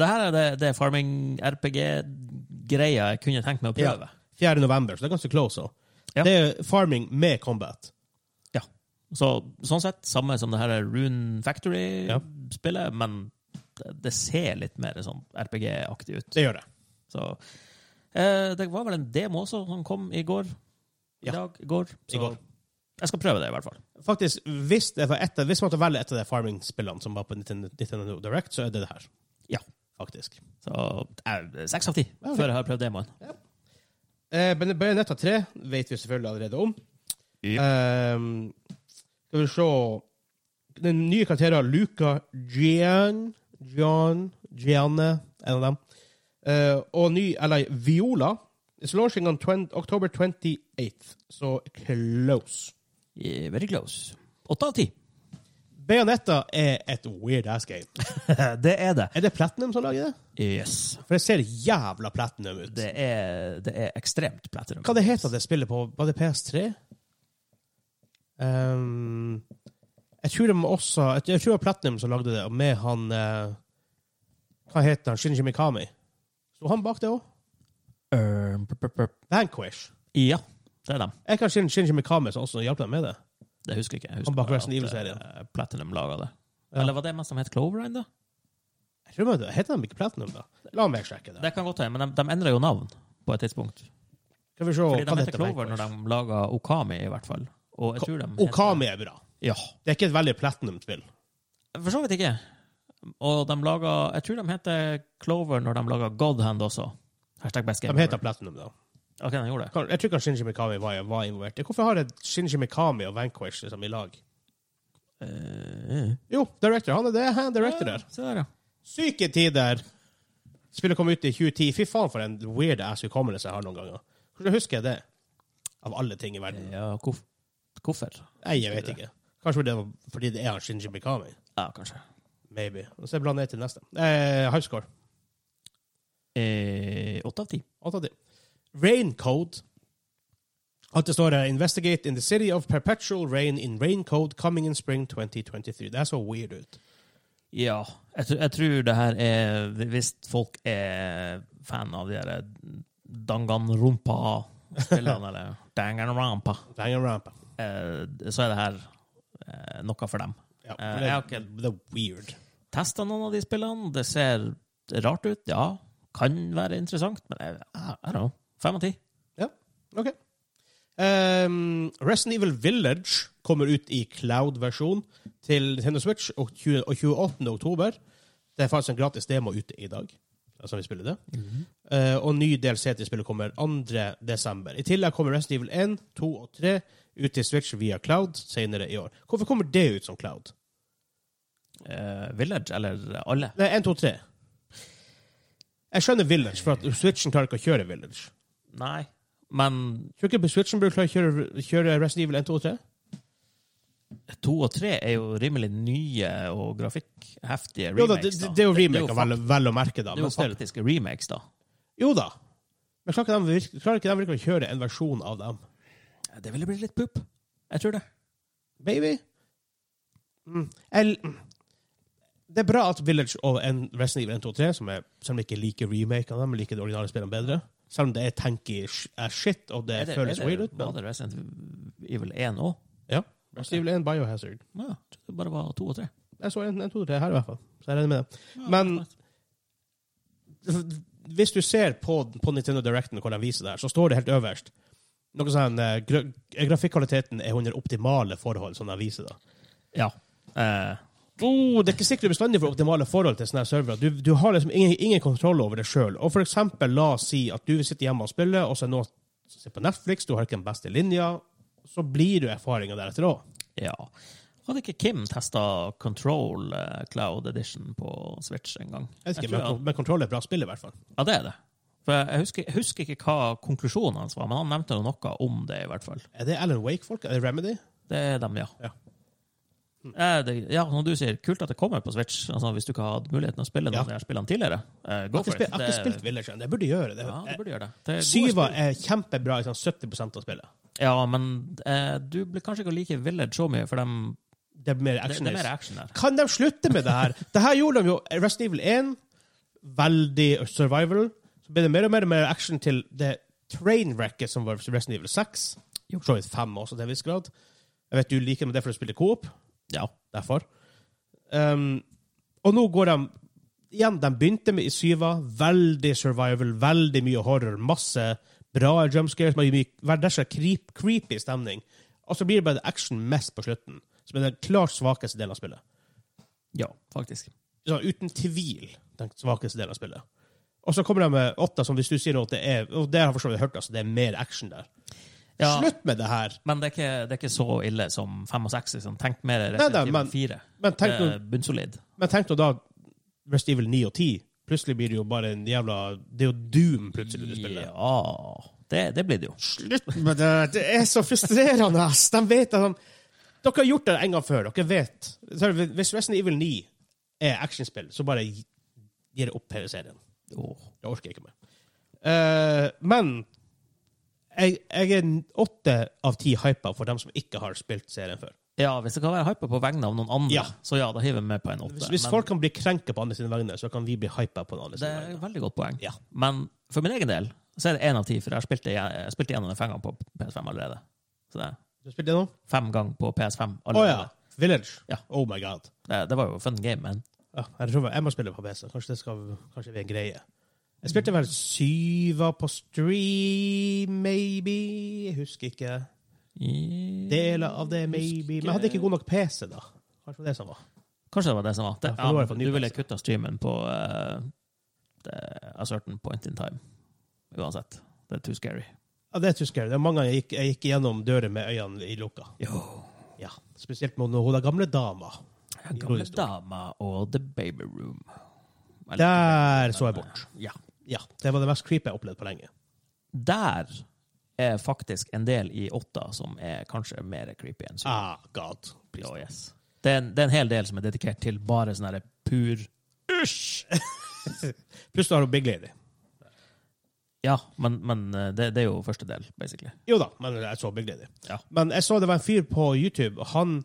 Speaker 2: Det her er det, det farming-RPG-greia jeg kunne tenkt meg å prøve.
Speaker 1: 4. november, så det er ganske close òg.
Speaker 2: Ja.
Speaker 1: Det er farming med combat.
Speaker 2: Ja. Så, sånn sett, samme som det her er Rune Factory-spillet, men det, det ser litt mer sånn RPG-aktig ut.
Speaker 1: Det gjør det.
Speaker 2: Så eh, Det var vel en demo også som kom i går. I
Speaker 1: Ja.
Speaker 2: dag, i går. Så
Speaker 1: I går.
Speaker 2: jeg skal prøve det, i hvert fall.
Speaker 1: Faktisk, hvis, det var etter, hvis man tar velge et av de farming-spillene som var på Nintendo, Nintendo Direct, så er det det her.
Speaker 2: Ja.
Speaker 1: Faktisk.
Speaker 2: Så eh, seks av ti
Speaker 1: Ja, ok.
Speaker 2: før jeg har prøvd demoen.
Speaker 1: Eh, Ben- Bayonetta 3 vet vi selvfølgelig allerede om. Ehm, skal vi se Den nye karakteren Luca Gian Gian Gianne, en av dem. Eh, og ny eller Viola. It's launching on 20, October 28th. Så close.
Speaker 2: Eh, Very close. Åtte av ti.
Speaker 1: Bayonetta er et weird ass game.
Speaker 2: det er det.
Speaker 1: Er det Platinum som lager det?
Speaker 2: Yes.
Speaker 1: For det ser jævla Platinum ut.
Speaker 2: Det er, det er ekstremt platinum.
Speaker 1: Hva det heter det spillet på? Var det PS3? Ehm, jeg tror de også Jeg tror det var Platinum som lagde det, og med han eh, Hva heter han? Shinji Mikami. Sto han bak det òg?
Speaker 2: Eh, p- p- p-
Speaker 1: Vanquish.
Speaker 2: Ja, det er dem.
Speaker 1: Jeg kan Shin- Shinji Mikami som også hjalp dem med det.
Speaker 2: Det husker jeg ikke. Jeg
Speaker 1: Han
Speaker 2: husker
Speaker 1: bak
Speaker 2: bare
Speaker 1: Resident
Speaker 2: at,
Speaker 1: Evil-serien.
Speaker 2: eh, Platinum laga det.
Speaker 1: Ja.
Speaker 2: Eller var det mest de het Cloverine, da?
Speaker 1: Jeg tror det, Heter de ikke Platinum, da? La meg sjekke det.
Speaker 2: Det kan godt hende, men de, de endra jo navn på et tidspunkt.
Speaker 1: Skal vi se
Speaker 2: Fordi
Speaker 1: hva
Speaker 2: de
Speaker 1: det
Speaker 2: het
Speaker 1: heter.
Speaker 2: Clover når
Speaker 1: Vanquish.
Speaker 2: de laga Okami, i hvert fall. Og jeg tror de heter-
Speaker 1: Okami er bra.
Speaker 2: Ja.
Speaker 1: Det er ikke et veldig Platinum-spill.
Speaker 2: For så vidt ikke. Og de laga Jeg tror de heter Clover når de laga Godhand også. Hashtag best game.
Speaker 1: De heter Platinum, da.
Speaker 2: ever. Ok, de gjorde det.
Speaker 1: Kan- Jeg tror ikke Shinji Mikami var, var involvert. Hvorfor har jeg Shinji Mikami og Vanquish liksom, i lag?
Speaker 2: Eh,
Speaker 1: Jo, director. Han er det. Han er director der.
Speaker 2: ja, Se der, ja.
Speaker 1: Syke tider! Spillet kom ut i 2010. Fy faen, for en weird ass hukommelse jeg har noen ganger. Hvordan husker jeg det? Av alle ting i verden.
Speaker 2: ja hvorf hvorfor?
Speaker 1: Nei, jeg vet ikke. Kanskje det var fordi det er han Shinji Mikami.
Speaker 2: Ja, kanskje.
Speaker 1: Maybe. Og så blander jeg til neste. Eh, Highscore.
Speaker 2: Eh, Åtte av ti.
Speaker 1: Alt av det. Rain Code. At det står her Investigate in the city of perpetual rain in rain code coming in spring 2023. Det er så weird ut.
Speaker 2: Ja. Jeg, tr- jeg tror det her er Hvis folk er fan av de der Danganronpa-spillene, eller Danganronpa,
Speaker 1: Danganronpa.
Speaker 2: eh, så er det her eh, noe for dem.
Speaker 1: Ja,
Speaker 2: Eh,
Speaker 1: det,
Speaker 2: ja,
Speaker 1: er,
Speaker 2: ok.
Speaker 1: det er weird.
Speaker 2: Testa noen av de spillene. Det ser rart ut, ja. Kan være interessant, men jeg, I I don't know. Fem av ti.
Speaker 1: Ja, ok. Ehm, Resident Evil Village kommer ut i cloud-versjon til Nintendo Switch og 20, og 28. oktober. Det er faktisk en gratis demo ute i dag, som vi spiller det. Eh, og ny DLC til spillet kommer 2. desember. I tillegg kommer Resident Evil 1, 2 og 3 ut til Switch via cloud senere i år. Hvorfor kommer det ut som cloud?
Speaker 2: Eh, Village, eller alle?
Speaker 1: Nei, 1, 2, 3. Jeg skjønner Village, for at Switchen klarer ikke å kjøre Village.
Speaker 2: Nei. Men
Speaker 1: Tror du ikke Switchen burde klare å kjøre, kjøre Resident Evil 1, 2 og 3?
Speaker 2: to og tre er jo rimelig nye og grafikkheftige
Speaker 1: Jo da,
Speaker 2: remakes.
Speaker 1: det,
Speaker 2: da.
Speaker 1: det, det er jo remake,
Speaker 2: fakt-
Speaker 1: vel, vel å merke, da.
Speaker 2: Det er
Speaker 1: Men
Speaker 2: jo
Speaker 1: still.
Speaker 2: faktisk remakes, da.
Speaker 1: Jo da. Men klarer ikke, de, virke- klarer ikke de virkelig å kjøre en versjon av dem?
Speaker 2: Det ville blitt litt pupp. Jeg tror det.
Speaker 1: Baby? Mm. El, mm. det er bra at Village og en Resident Evil 1, 2, 3, som er, selv om jeg ikke liker remake av dem, liker de originale spillene bedre, selv om det er tanky sh- er shit, og det, føles weird ut,
Speaker 2: Var
Speaker 1: men
Speaker 2: det Resident Evil 1 òg?
Speaker 1: ja. Resident Evil 1, Biohazard.
Speaker 2: Ja, jeg trodde det bare var to og tre.
Speaker 1: Jeg så 1, 1, 2, 3 her i hvert fall, så jeg regner med det.
Speaker 2: Ja,
Speaker 1: Men-
Speaker 2: klart.
Speaker 1: Altså, hvis du ser på, på Nintendo Directen hvor de viser det her, så står det helt øverst noe sånn, eh, gra Grafikkvaliteten er under optimale forhold, som de viser da.
Speaker 2: Ja. Eh,
Speaker 1: Oh, det er ikke sikkert du bestandig får optimale forhold til sånne her servere. Du, du har liksom ingen, ingen kontroll over det sjøl. Og for eksempel, la oss si at du sitter hjemme og spiller, og så er noen som ser på Netflix, du har ikke den beste linja, så blir du erfaringa deretter òg.
Speaker 2: ja. Hadde ikke Kim testa Control eh, Cloud Edition på Switch en gang? Jeg tror han-
Speaker 1: Men kontroll er et bra spill, i hvert fall.
Speaker 2: Ja, det er det. For jeg husker, jeg husker ikke hva konklusjonen hans var, men han nevnte jo noe om det, i hvert fall.
Speaker 1: Er det Alan Wake-folk? Er det Remedy?
Speaker 2: Det er dem, ja.
Speaker 1: Ja.
Speaker 2: Eh, det, ja, som du sier, kult at det kommer på Switch. Altså, hvis du ikke har hatt muligheten å spille noen
Speaker 1: Ja.
Speaker 2: av de her spillene tidligere, eh,
Speaker 1: Jeg
Speaker 2: go
Speaker 1: har ikke
Speaker 2: for it.
Speaker 1: spilt, jeg har ikke spilt Village ennå. Jeg burde gjøre det.
Speaker 2: Ja, du burde gjøre det. det er gode
Speaker 1: Syva
Speaker 2: spill.
Speaker 1: er kjempebra i sånn 70 av spillet.
Speaker 2: Ja, men eh, du blir kanskje ikke å like Village så mye, for dem,
Speaker 1: Det er mer
Speaker 2: det,
Speaker 1: action.
Speaker 2: det er mer action der.
Speaker 1: Kan de slutte med det her? det her gjorde de jo Resident Evil 1, veldig survival. Så ble det mer og mer, og mer action til det trainwrecket som var Resident Evil 6. For så vidt 5 også, til en viss grad. Jeg vet du liker det, men det er for å spille coop.
Speaker 2: Ja.
Speaker 1: Derfor. Um, og nå går de Igjen, de begynte med i syva. Veldig survival, veldig mye horror. Masse bra jumpscares. men mye- Det er så creep, creepy stemning. Og så blir det bare action mest på slutten, som er den klart svakeste delen av spillet
Speaker 2: ja, faktisk.
Speaker 1: sånn, uten tvil den svakeste delen av spillet. Og så kommer de med åtta, som hvis du sier nå at det er Og det har jeg for så vidt hørt, altså, det er mer action der.
Speaker 2: Ja,
Speaker 1: Slutt med det her!
Speaker 2: Men det er, ikke, det er ikke så ille som fem og seks. Liksom. Tenk mer
Speaker 1: Nei, nei,
Speaker 2: Resident
Speaker 1: men-
Speaker 2: Evil 4.
Speaker 1: Men tenk,
Speaker 2: Det
Speaker 1: nå,
Speaker 2: er bunnsolid.
Speaker 1: men tenk nå da Rest Evil 9 og 10. Plutselig blir det jo bare en jævla Det er jo Doom plutselig du spiller.
Speaker 2: Ja, det, det blir det jo.
Speaker 1: Slutt med det! Det er så frustrerende! ass. De vet at de, Dere har gjort det en gang før. Dere vet. Så Hvis Rest Evil 9 er actionspill, så bare gi- gir det opp hele serien.
Speaker 2: Åh.
Speaker 1: Det orker jeg ikke mer. Eh, men jeg, jeg er åtte av ti hypa for dem som ikke har spilt serien før.
Speaker 2: Ja, hvis det kan være hype på vegne av noen andre,
Speaker 1: Ja.
Speaker 2: så ja, da hiver vi med på en åtte.
Speaker 1: Hvis, hvis
Speaker 2: Men
Speaker 1: folk kan bli krenka på andre sine vegne, så kan vi bli hypa på den andre
Speaker 2: det
Speaker 1: sine
Speaker 2: er
Speaker 1: vegne.
Speaker 2: et veldig godt poeng.
Speaker 1: Ja.
Speaker 2: Men for min egen del så er det én av ti, for jeg har spilt, det- jeg har spilt igjennom det fem ganger på PS5 allerede. Så det er
Speaker 1: Du spilte det nå?
Speaker 2: fem ganger på PS5
Speaker 1: Å ja.
Speaker 2: allerede.
Speaker 1: Village.
Speaker 2: Ja.
Speaker 1: Oh my god.
Speaker 2: det, det var jo fun game, men
Speaker 1: Ja, jeg, tror jeg må spille på PC. Kanskje det skal kanskje det blir en greie. Jeg spilte vel syva på stream, maybe? Jeg husker ikke. Deler av det, maybe. Men jeg hadde ikke god nok PC, da. Kanskje det var det som var.
Speaker 2: Kanskje det var det som var. Det,
Speaker 1: Ja, for
Speaker 2: ja,
Speaker 1: nå har jeg
Speaker 2: men
Speaker 1: fått ny
Speaker 2: du ville
Speaker 1: PC.
Speaker 2: kutta streamen på eh, det- a certain point in time. Uansett. Det er too scary.
Speaker 1: Ja, det husker jeg. Det er mange ganger jeg gikk, jeg gikk gjennom dører med øynene i lukka.
Speaker 2: Yo.
Speaker 1: Ja, spesielt mot hun er gamle dama.
Speaker 2: Gamle dama og The Baby Room. Eller-
Speaker 1: Der så jeg bort.
Speaker 2: Ja.
Speaker 1: Ja, Det var det mest creepy jeg har opplevd på lenge.
Speaker 2: Der er faktisk en del i åtta som er kanskje mer creepy enn syv.
Speaker 1: Ah, god.
Speaker 2: Ja, yes. det, er en, det er en hel del som er dedikert til bare sånn herre pur Usj!
Speaker 1: Pluss du har hun Big Lady.
Speaker 2: Ja, men, men eh, det, det er jo første del, basically.
Speaker 1: Jo da, men jeg så Big Lady.
Speaker 2: Ja.
Speaker 1: Men jeg så det var en fyr på YouTube. Han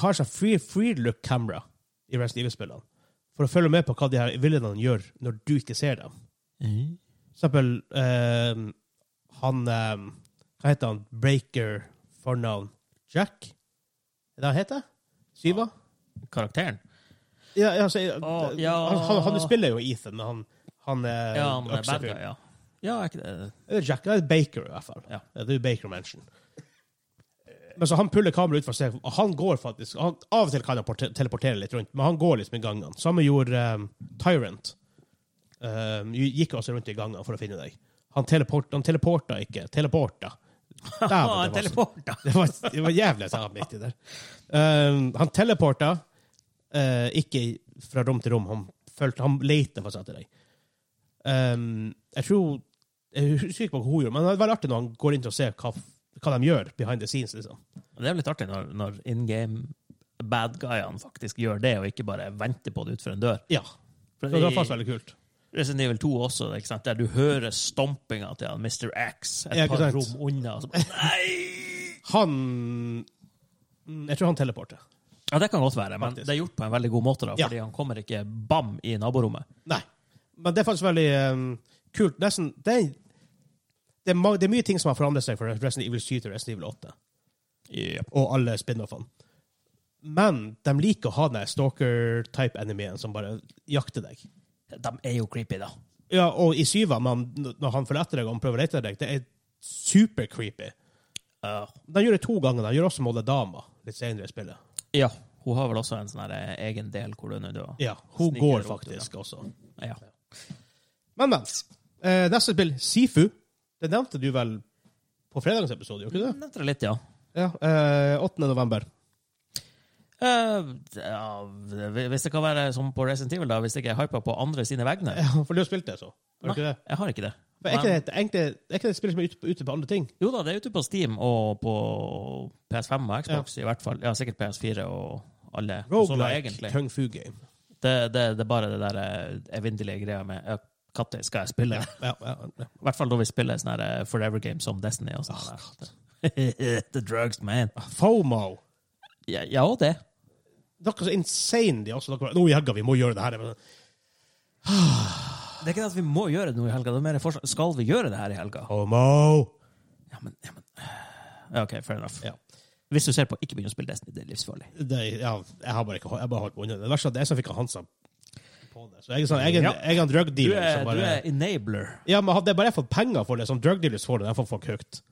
Speaker 1: har sånn free, free look camera i Resident Evil-spillene. For å følge med på hva de her villenene gjør når du ikke ser dem. For eksempel eh, han eh, Hva heter han? Breaker fornavn Jack? Er det han heter? Syva?
Speaker 2: Karakteren?
Speaker 1: Ja, ja, altså,
Speaker 2: Å,
Speaker 1: eh,
Speaker 2: ja.
Speaker 1: Han, han, han spiller jo Ethan, men han, han er
Speaker 2: Ja, han er bad
Speaker 1: øksefyr.
Speaker 2: guy, ja. Ja, er ikke det
Speaker 1: Det er Jack, det er Baker i hvert fall.
Speaker 2: Ja.
Speaker 1: Det er jo Baker Mansion. Men så han puller kameraet ut for å se, og han går faktisk, han, av og til kan han porte- teleportere litt rundt, men han går liksom i gangene. Samme gjorde um, Tyrant. Um, gikk også rundt i gangene for å finne deg. Han, teleport, han teleporta ikke, teleporta. Dæven,
Speaker 2: Ah,
Speaker 1: det var
Speaker 2: en
Speaker 1: så-
Speaker 2: teleport, da!
Speaker 1: det var, det var jævlig så viktig der. Um, han teleporta eh, ikke fra rom til rom. Han, følte, han lette for seg etter deg. Um, jeg tror Jeg husker ikke hva hun gjorde, men det er veldig artig når han går inn til å se hva, hva de gjør behind the scenes. liksom.
Speaker 2: Det er jo litt artig når, når in game bad guyene faktisk gjør det, og ikke bare venter på det utfor en dør.
Speaker 1: Ja,
Speaker 2: For
Speaker 1: så Det var
Speaker 2: i
Speaker 1: faktisk veldig kult.
Speaker 2: Resident Evil 2 også, ikke sant? der du hører stompinga til han, Mr. X et
Speaker 1: Ja, ikke
Speaker 2: par
Speaker 1: sant?
Speaker 2: rom unna. og Så bare, Nei!
Speaker 1: Han mm, Jeg tror han teleporter.
Speaker 2: Ja, det kan godt være, men
Speaker 1: Faktisk.
Speaker 2: det er gjort på en veldig god måte, da,
Speaker 1: Ja.
Speaker 2: fordi han kommer ikke bam i naborommet.
Speaker 1: Nei. Men det er faktisk veldig um, kult. Nesten, det, er, det, er mange, det er mye ting som har forandret seg fra Resident Evil 7 til Resident Evil 8. og alle spin-offene. Men de liker å ha den der stalker-type-enemien som bare jakter deg.
Speaker 2: De er jo creepy, da.
Speaker 1: Ja, Og i syva, men når han følger etter deg og han prøver å lete etter deg, det er super-creepy.
Speaker 2: Ja.
Speaker 1: De gjør det to ganger. De gjør også Molde Dama litt senere i spillet.
Speaker 2: ja. Hun har vel også en sånn her, eh, egen del hvor hun er død.
Speaker 1: Ja, Hun
Speaker 2: Sniker
Speaker 1: går
Speaker 2: opp til
Speaker 1: faktisk også.
Speaker 2: Ja.
Speaker 1: Men, men. Eh, neste spill, Sifu. Det nevnte du vel på fredagens episode, gjorde ikke du det?
Speaker 2: Nevnte det litt, ja.
Speaker 1: Ja, eh, 8. november.
Speaker 2: Eh, ja. Hvis det kan være som på Resident Evil, da, hvis det ikke er hypa på andre sine vegne.
Speaker 1: Ja, for du har spilt det, så? Har du ikke det?
Speaker 2: Jeg har ikke det.
Speaker 1: For er ikke det, et- egentlig, er ikke det et spill som er ute på, ute på andre ting?
Speaker 2: Jo da, det er ute på Steam og på PS5 og Xbox, i hvert fall. Ja, sikkert PS4 og alle konsoler,
Speaker 1: Roguelike
Speaker 2: egentlig.
Speaker 1: kung fu game.
Speaker 2: Det, det, det er bare det der eh, evinnelige greia med ja, Katter skal jeg spille?
Speaker 1: Ja, ja, ja.
Speaker 2: I hvert fall da vi spiller sånne her, eh, Forever Games som Destiny. og sånne der. The drugs, man.
Speaker 1: FOMO.
Speaker 2: Ja, ja, og det.
Speaker 1: Dere er så insane, de også. Dere bare, Nå i helga, vi må gjøre det her. Men,
Speaker 2: Det er ikke det at vi må gjøre det nå i helga. Det er mer forslag. Skal vi gjøre det her i helga?
Speaker 1: FOMO!
Speaker 2: Ja, men, ja, men. Ja, OK, fair enough.
Speaker 1: Ja.
Speaker 2: Hvis du ser på ikke begynn å spille Destiny, det er livsfarlig.
Speaker 1: Det, ja, jeg har bare ikke jeg har bare holdt meg unna det. Det verste er at jeg som fikk han Hansa på det. Så jeg er sånn, jeg er en-
Speaker 2: Ja.
Speaker 1: jeg er en drug
Speaker 2: Du
Speaker 1: dealer.
Speaker 2: er,
Speaker 1: som
Speaker 2: du
Speaker 1: bare,
Speaker 2: er enabler.
Speaker 1: Ja, men hadde jeg bare fått penger for det, som drug dealers får det, derfor får folk høyt.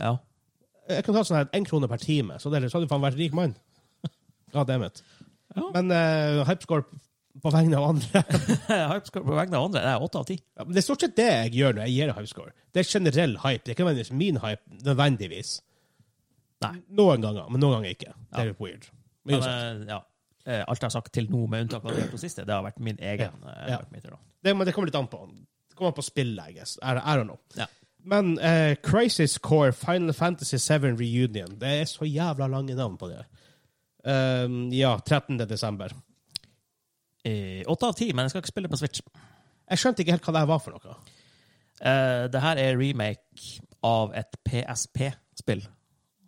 Speaker 2: Ja.
Speaker 1: Jeg kunne tatt sånn her en krone per time, så, det, så hadde du faen vært rik mann. God damn it.
Speaker 2: Ja.
Speaker 1: Men uh, hypescore på vegne av andre
Speaker 2: Hypescore på vegne av andre. Det er åtte av ti.
Speaker 1: Ja, men Det er stort sett det jeg gjør når jeg gir en hypescore. Det er generell hype. Det er ikke nødvendigvis min hype, nødvendigvis.
Speaker 2: Nei.
Speaker 1: Noen ganger, men noen ganger ikke. Det er litt weird. Men,
Speaker 2: Men,
Speaker 1: uansett.
Speaker 2: eh, ja. Eh, Alt jeg har sagt til nå, med unntak av det på siste, det har vært min egen. eh,
Speaker 1: Ja.
Speaker 2: vært mitt råd.
Speaker 1: det, men det kommer litt an på. Det kommer an på spillet, I guess. I, I don't know.
Speaker 2: Ja.
Speaker 1: Men eh, Crisis Core Final Fantasy 7 Reunion Det er så jævla lange navn på det. Um, ja, 13. desember.
Speaker 2: Eh, Åtte av ti, men jeg skal ikke spille på Switch.
Speaker 1: Jeg skjønte ikke helt hva det her var for noe.
Speaker 2: Eh, det her er remake av et PSP-spill.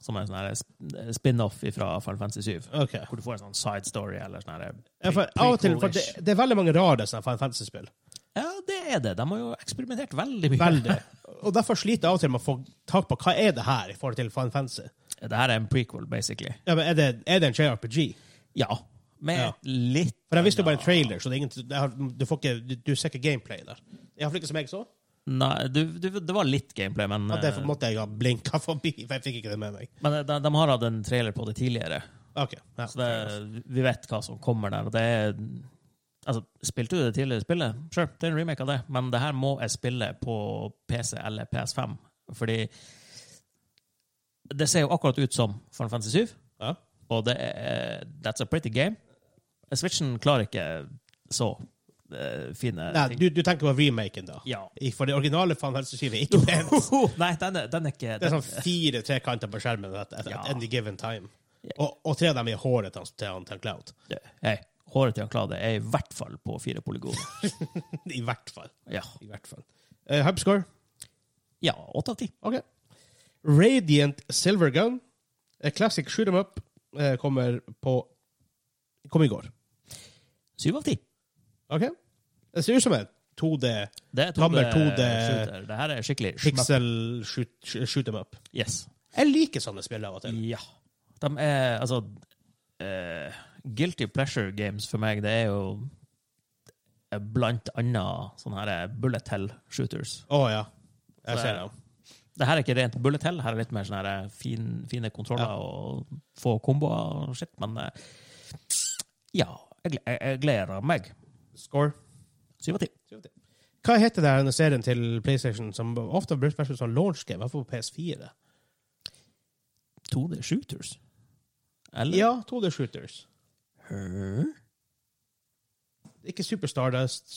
Speaker 2: Som er en sånn her sp- spin-off fra Final Fantasy 7.
Speaker 1: Ok.
Speaker 2: Hvor du får en sånn side story eller sånn her
Speaker 1: Ja, for,
Speaker 2: pre-
Speaker 1: av og til, for det,
Speaker 2: prequel-ish.
Speaker 1: det er veldig mange rare sånne Final Fantasy-spill.
Speaker 2: Ja, det er det. De har jo eksperimentert veldig mye.
Speaker 1: Veldig. Og derfor sliter jeg av og til med å få tak på hva er det her i forhold til Final Fantasy.
Speaker 2: Det her er en prequel, basically.
Speaker 1: Ja, men er det, er det en JRPG?
Speaker 2: Ja. Med
Speaker 1: Ja.
Speaker 2: litt
Speaker 1: For jeg visste jo bare en trailer, så det er ingen, det har, du, får ikke, du, du ser ikke gameplay der. Iallfall ikke som jeg så.
Speaker 2: Nei, du, du, det var litt gameplay, men,
Speaker 1: Ja, derfor
Speaker 2: eh,
Speaker 1: måtte jeg ha blinka forbi, for jeg fikk ikke det med meg.
Speaker 2: men eh, de, de har hatt en trailer på det tidligere.
Speaker 1: Ok, ja.
Speaker 2: Så det, vi vet hva som kommer der. Og det er Altså, spilte du det tidligere spillet? Sure, det er en remake av det, men det her må jeg spille på PC eller PS5, fordi Det ser jo akkurat ut som Final Fantasy 7,
Speaker 1: Ja.
Speaker 2: og det er That's a pretty game. Switchen klarer ikke så eh, fine
Speaker 1: Nei,
Speaker 2: ting.
Speaker 1: du, du tenker på remaken, da?
Speaker 2: Ja.
Speaker 1: I- For det originale Fan Helseskivet er ikke pent.
Speaker 2: Nei, den er, den er ikke
Speaker 1: Det er sånn fire trekanter på skjermen at, at,
Speaker 2: Ja.
Speaker 1: at any given time. Og, og tre av dem er håret til, til, til Cloud.
Speaker 2: Hei, håret til Klade er i hvert fall på fire polygoner.
Speaker 1: I hvert fall.
Speaker 2: Ja.
Speaker 1: I hvert fall. Eh, Hubscore.
Speaker 2: ja, åtte av ti.
Speaker 1: OK. Radiant Silvergun. eh, Classic shoot 'em up. eh, Kommer på Kom i går.
Speaker 2: Syv av ti.
Speaker 1: OK? Det ser ut som en 2D
Speaker 2: Det er
Speaker 1: Gammel
Speaker 2: 2D
Speaker 1: 2D
Speaker 2: shooter. Det her er skikkelig schmuck.
Speaker 1: pixel shoot, shoot 'em up.
Speaker 2: Yes.
Speaker 1: Jeg liker sånne spill av og til.
Speaker 2: Ja. De er altså eh, Guilty pleasure games for meg, det er jo eh, blant annet sånne her bullet hell shooters.
Speaker 1: Å ja. Jeg
Speaker 2: Så-
Speaker 1: ser dem.
Speaker 2: Det her er ikke rent bullet hell, her er litt mer sånne her fin, fine kontroller
Speaker 1: Ja.
Speaker 2: og få komboer og shit, men eh, ja. Jeg, gle- jeg, jeg gleder meg.
Speaker 1: Score.
Speaker 2: Syv av ti.
Speaker 1: Hva heter det her denne serien til PlayStation som ofte har brukt versus som launch game, i hvert fall på PS4?
Speaker 2: 2D shooters? Eller?
Speaker 1: Ja, 2D Shooters.
Speaker 2: Hæ?
Speaker 1: Ikke Super Stardust.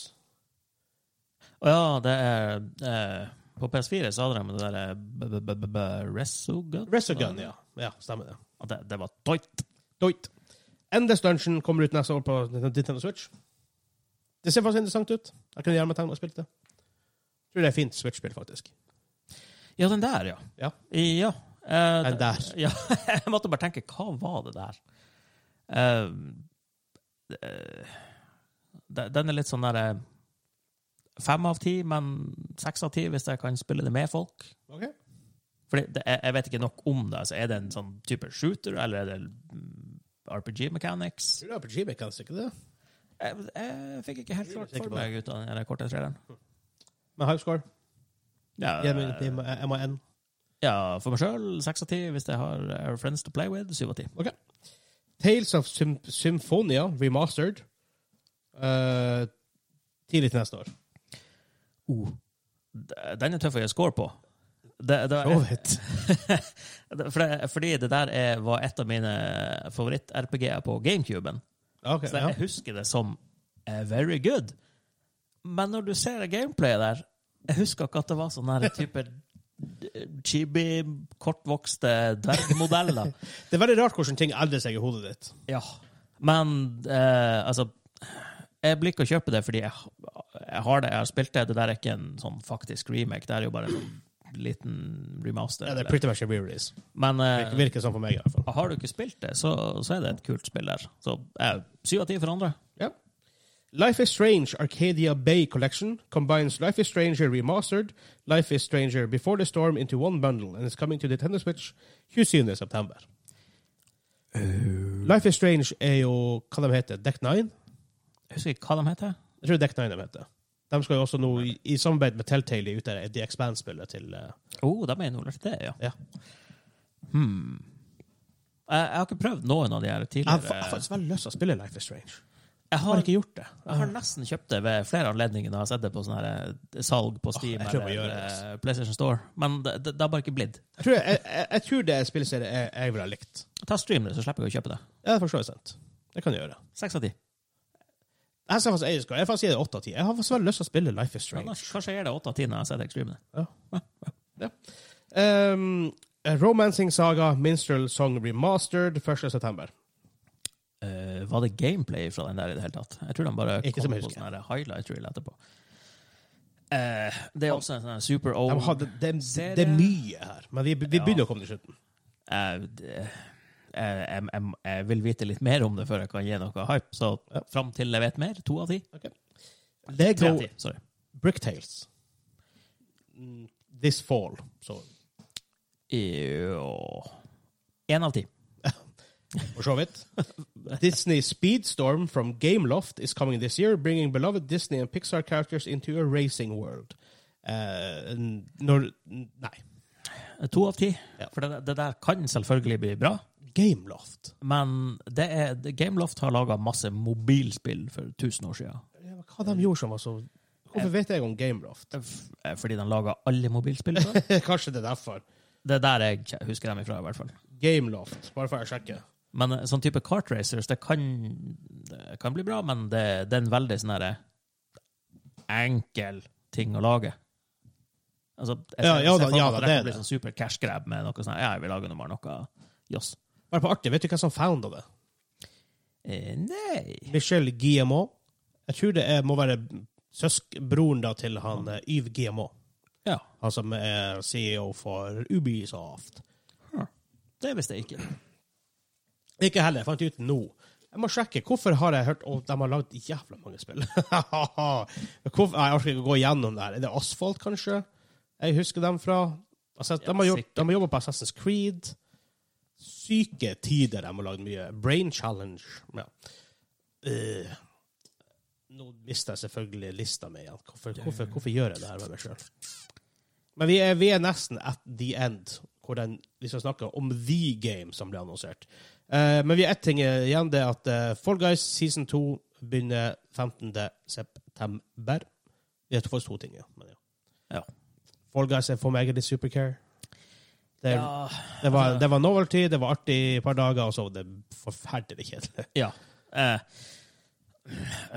Speaker 2: Å ja, det er eh, På PS4 så hadde de det derre b- b- b- b- Resogun?
Speaker 1: Resogun, ja. Ja, stemmer det.
Speaker 2: Ja, Det, det var tøyt.
Speaker 1: Doit. Endless Dungeon kommer ut neste år på Nintendo Switch. Det ser faktisk interessant ut. Jeg kunne gjerne tenkt meg å spille det. Jeg tror det er et fint Switch-spill, faktisk.
Speaker 2: Ja, den der, ja.
Speaker 1: Ja.
Speaker 2: I- ja. Eh,
Speaker 1: Den der.
Speaker 2: Ja, jeg måtte bare tenke, hva var det der? Eh, eh, de- den er litt sånn derre Fem av ti, men seks av ti hvis jeg kan spille det med folk.
Speaker 1: Ok.
Speaker 2: Fordi det, jeg, jeg vet ikke nok om det. Altså, er det en sånn type shooter, eller er det mm, RPG mechanics?
Speaker 1: Tror det er RPG Mechanics, ikke det?
Speaker 2: Jeg, jeg fikk ikke helt klart for meg ut av den her korte traileren.
Speaker 1: Men high score.
Speaker 2: Ja,
Speaker 1: Gi meg- gi meg MAN.
Speaker 2: ja, for meg sjøl seks av ti hvis jeg har eh, friends to play with. Syv av ti.
Speaker 1: Ok. Tales of Sym Symphonia Remastered. Eh, tidlig til neste år. Oh.
Speaker 2: D- Den er tøff å gjøre score på. Det, det,
Speaker 1: For så vidt.
Speaker 2: for det, fordi det der er, var et av mine favoritt-RPG-er på GameCuben.
Speaker 1: Ok,
Speaker 2: Så
Speaker 1: ja.
Speaker 2: jeg husker det som eh, very good. Men når du ser gameplayet der, Jeg husker ikke at det var sånne her type d- chibi, kortvokste dvergmodeller.
Speaker 1: Det er veldig rart hvordan ting eldrer seg i hodet ditt.
Speaker 2: Ja. Men eh, altså Jeg blir ikke å kjøpe det fordi jeg, jeg har det, jeg har spilt det. Det der er ikke en sånn faktisk remake, det er jo bare en liten remaster.
Speaker 1: Ja, det er
Speaker 2: eller-
Speaker 1: pretty much a re-release.
Speaker 2: Men eh,
Speaker 1: Virker, virker sånn for meg, i hvert fall.
Speaker 2: har du ikke spilt det, så, så er det et kult spill der. Så eh, syv av ti for andre.
Speaker 1: Ja. Life is Strange Arcadia Bay Collection combines Life is Stranger Remastered, Life is Stranger Before the Storm into one bundle and is coming to Nintendo Switch 27. september. Life is Strange er jo hva de heter, Deck 9?
Speaker 2: Jeg husker ikke hva de heter.
Speaker 1: Jeg tror det er Deck 9 de heter. De skal jo også nå, i, i samarbeid med Telltale, gi ut det The Expanse-spillet til eh,
Speaker 2: Oh, de er involvert i det, ja.
Speaker 1: Ja.
Speaker 2: Hmm. Jeg, jeg har ikke prøvd noen av de her
Speaker 1: Jeg har fa- jeg har
Speaker 2: tidligere.
Speaker 1: faktisk veldig lyst til å spille Life is Strange.
Speaker 2: Jeg
Speaker 1: Jeg har
Speaker 2: har,
Speaker 1: ikke gjort det.
Speaker 2: jeg har nesten kjøpt det ved flere anledninger når jeg har sett det på sånne her, eh, salg på Steam
Speaker 1: Ah, jeg tror jeg må
Speaker 2: eller
Speaker 1: gjøre det, altså.
Speaker 2: eh, PlayStation Store, men det, det, det har bare ikke blitt.
Speaker 1: Jeg tror, jeg, jeg, jeg tror det er spillserie jeg, jeg ville ha likt.
Speaker 2: Ta streamer, så slipper jeg å kjøpe det.
Speaker 1: Ja, det forstår jeg sant. Det kan jeg gjøre.
Speaker 2: Seks av ti.
Speaker 1: Jeg skal faktisk, jeg skal, jeg faktisk gi det 8 av 10. Jeg har faktisk veldig lyst til å spille Life is
Speaker 2: Men
Speaker 1: Strange.
Speaker 2: Kanskje jeg gir det åtte av ti når jeg ser deg streame det.
Speaker 1: Um, Romancing Saga Minstrel Song Remastered 1. september.
Speaker 2: Eh, var det gameplay fra den der i det hele tatt? Jeg tror den bare
Speaker 1: Ikke som
Speaker 2: kom
Speaker 1: jeg
Speaker 2: på
Speaker 1: husker.
Speaker 2: sånn her highlight reel etterpå. Eh, det er også en sånn her super old
Speaker 1: De har, det, det,
Speaker 2: Serie.
Speaker 1: det er mye her, men vi, vi
Speaker 2: Ja.
Speaker 1: begynner å komme til slutten.
Speaker 2: Eh, det- eh, jeg, jeg, jeg vil vite litt mer om det før jeg kan gi noe hype, så
Speaker 1: Ja.
Speaker 2: fram til jeg vet mer. To av ti? Tre
Speaker 1: Lego
Speaker 2: av ti, sorry.
Speaker 1: Bricktales. Mm, This fall. Så,
Speaker 2: Jo Én av ti.
Speaker 1: for så vidt. Disney Speedstorm from Gameloft is coming this year, bringing beloved Disney and Pixar characters into a racing world. Eh, n- når Nei.
Speaker 2: To av ti.
Speaker 1: Ja.
Speaker 2: For det, det der kan selvfølgelig bli bra,
Speaker 1: Gameloft.
Speaker 2: men det er, Gameloft har laga masse mobilspill for 1000 år siden.
Speaker 1: Ja, men Hva de gjorde som var så Hvorfor vet jeg om Gameloft?
Speaker 2: F- eh, Fordi de laga alle mobilspill før.
Speaker 1: Kanskje det er derfor.
Speaker 2: Det er der jeg kje- husker dem ifra, i hvert fall.
Speaker 1: Gameloft, bare for å sjekke.
Speaker 2: Men eh, sånn type kartracers, det kan, det kan bli bra, men det, det er en veldig sånn herre enkel ting å lage. Altså, jeg
Speaker 1: Ja,
Speaker 2: ser-
Speaker 1: ja
Speaker 2: ser
Speaker 1: da,
Speaker 2: for meg
Speaker 1: ja
Speaker 2: at
Speaker 1: da,
Speaker 2: det
Speaker 1: det
Speaker 2: kan
Speaker 1: er
Speaker 2: bli
Speaker 1: det.
Speaker 2: Sånn super cash grab med noe sånn Ja, jeg vil lage noe, bare noe joss.
Speaker 1: Bare på artig, vet du hvem som founda det?
Speaker 2: Eh, nei
Speaker 1: Michel Guillemot. Jeg tror det er, må være søskbroren da til han eh, Yves Guillemot.
Speaker 2: Ja.
Speaker 1: Han som er CEO for Ubisoft.
Speaker 2: Det visste jeg ikke.
Speaker 1: Ikke heller, jeg fant ut nå. Jeg må sjekke, hvorfor har jeg hørt Å, de har lagd jævla mange spill. hvorfor, jeg orker ikke å gå gjennom det her. Er det Asphalt, kanskje? Jeg husker dem fra. Altså,
Speaker 2: Ja,
Speaker 1: de har gjort-
Speaker 2: sikkert.
Speaker 1: de har jobba på Assassin's Creed. Syke tider de har lagd mye. Brain Challenge. Ja. Øh. nå mister jeg selvfølgelig lista mi igjen. Hvorfor, hvorfor, hvorfor gjør jeg det her med meg sjøl? Men vi er, vi er nesten at the end, hvor den, vi skal snakke om The Game som ble annonsert. Eh, men vi har ett ting igjen, det er at eh, Fall Guys season 2 begynner 15. september. Vi har faktisk to ting, ja. Men, ja.
Speaker 2: Ja.
Speaker 1: Fall Guys er for meg litt supercare. Det,
Speaker 2: Ja. altså-
Speaker 1: det, var, det var novelty, det var artig et par dager, og så var det forferdelig kjedelig.
Speaker 2: ja. Eh,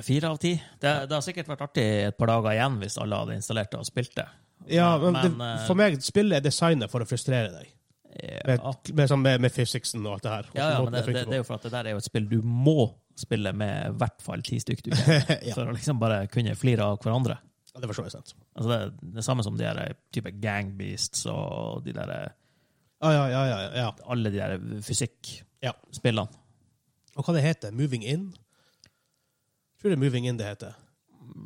Speaker 2: fire av ti. Det, det har sikkert vært artig et par dager igjen hvis alle hadde installert det og spilt det.
Speaker 1: Ja, men, det,
Speaker 2: eh,
Speaker 1: for meg, spillet er designet for å frustrere deg. Med,
Speaker 2: ja.
Speaker 1: med, sånn med, med fysikken og alt det her. og
Speaker 2: Ja, ja,
Speaker 1: måten
Speaker 2: men det, det,
Speaker 1: funker
Speaker 2: det er jo for at det der er jo et spill du må spille med i hvert fall ti stykker du kjenner,
Speaker 1: Ja.
Speaker 2: for å liksom bare kunne flire av hverandre.
Speaker 1: på. Ja, det forstår jeg sant.
Speaker 2: Altså det, er det samme som de der type gangbeasts og de der, eh,
Speaker 1: Ja, ja, ja, ja, ja.
Speaker 2: alle de der
Speaker 1: Ja.
Speaker 2: fysikkspillene.
Speaker 1: Og hva det heter Moving In? Jeg tror det er Moving In det heter.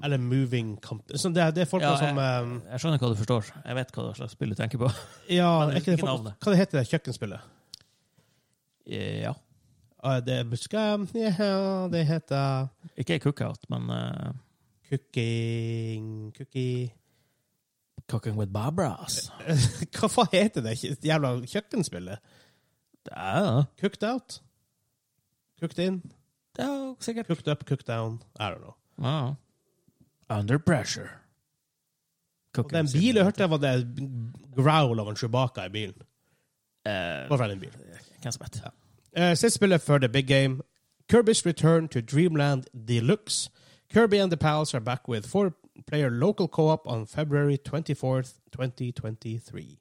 Speaker 1: Eller Moving Camp... Sånn, det, er- det er folka
Speaker 2: Ja, jeg,
Speaker 1: som um,
Speaker 2: jeg skjønner hva du forstår. Jeg vet hva slags spill du tenker på.
Speaker 1: Ja,
Speaker 2: men
Speaker 1: er ikke det
Speaker 2: ikke
Speaker 1: folk,
Speaker 2: navnet.
Speaker 1: hva det heter det kjøkkenspillet?
Speaker 2: Ja.
Speaker 1: Ah, Det er Buscam yeah, Det heter
Speaker 2: Ikke cookout, men eh,
Speaker 1: Cooking Cookie
Speaker 2: Cooking with Barbras.
Speaker 1: Hva faen heter det kj- jævla kjøkkenspillet?
Speaker 2: Ja,
Speaker 1: Cooked out? Cooked in?
Speaker 2: det er jo sikkert.
Speaker 1: Cooked up, cooked down? I don't know.
Speaker 2: Ja. Under pressure.
Speaker 1: Og den bilen jeg hørte, var det growl av en Chewbacca i bilen.
Speaker 2: Eh,
Speaker 1: Bare fra den bilen.
Speaker 2: Hvem som vet.
Speaker 1: Eh, Siste spillet før The Big Game. Kirby's Return to Dreamland Deluxe. Kirby and the Pals are back with four player local co-op on February 24th, 2023.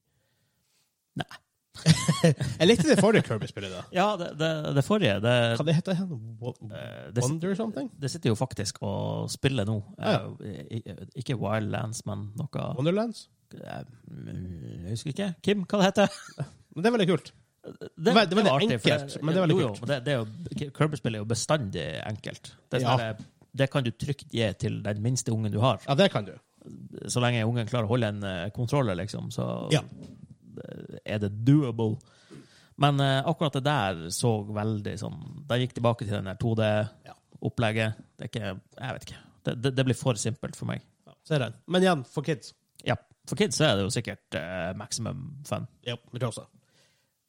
Speaker 2: Nei.
Speaker 1: Jeg likte det forrige Kirby-spillet, da.
Speaker 2: Ja, det, det, det forrige det,
Speaker 1: Hva det heter Eh, det? Wo-
Speaker 2: eh, det, sit-
Speaker 1: Wonder something?
Speaker 2: det sitter jo faktisk og spiller nå.
Speaker 1: Ja.
Speaker 2: Eh, i- i- Ikke Wildlands, men noe
Speaker 1: Wonderlands?
Speaker 2: eh, Jeg husker ikke. Kim, hva det heter det?
Speaker 1: Men det er veldig kult. Det var- det var enkelt,
Speaker 2: for
Speaker 1: men det var veldig
Speaker 2: jo, jo,
Speaker 1: kult.
Speaker 2: men Det, det er jo, Kirby-spill er jo bestandig enkelt. Det, er sånn
Speaker 1: Ja.
Speaker 2: der, det kan du trygt gi til den minste ungen du har.
Speaker 1: Ja, det kan du.
Speaker 2: Så lenge ungen klarer å holde en eh, kontroller, liksom, så
Speaker 1: Ja.
Speaker 2: er det doable. Men eh, akkurat det der så veldig sånn Da gikk tilbake til den der 2D-opplegget. Det er ikke Jeg vet ikke. Det, det, det blir for simpelt for meg.
Speaker 1: Ser den. Men igjen, for kids.
Speaker 2: Ja, for kids så er det jo sikkert eh, maximum fun.
Speaker 1: Ja, det tror jeg også.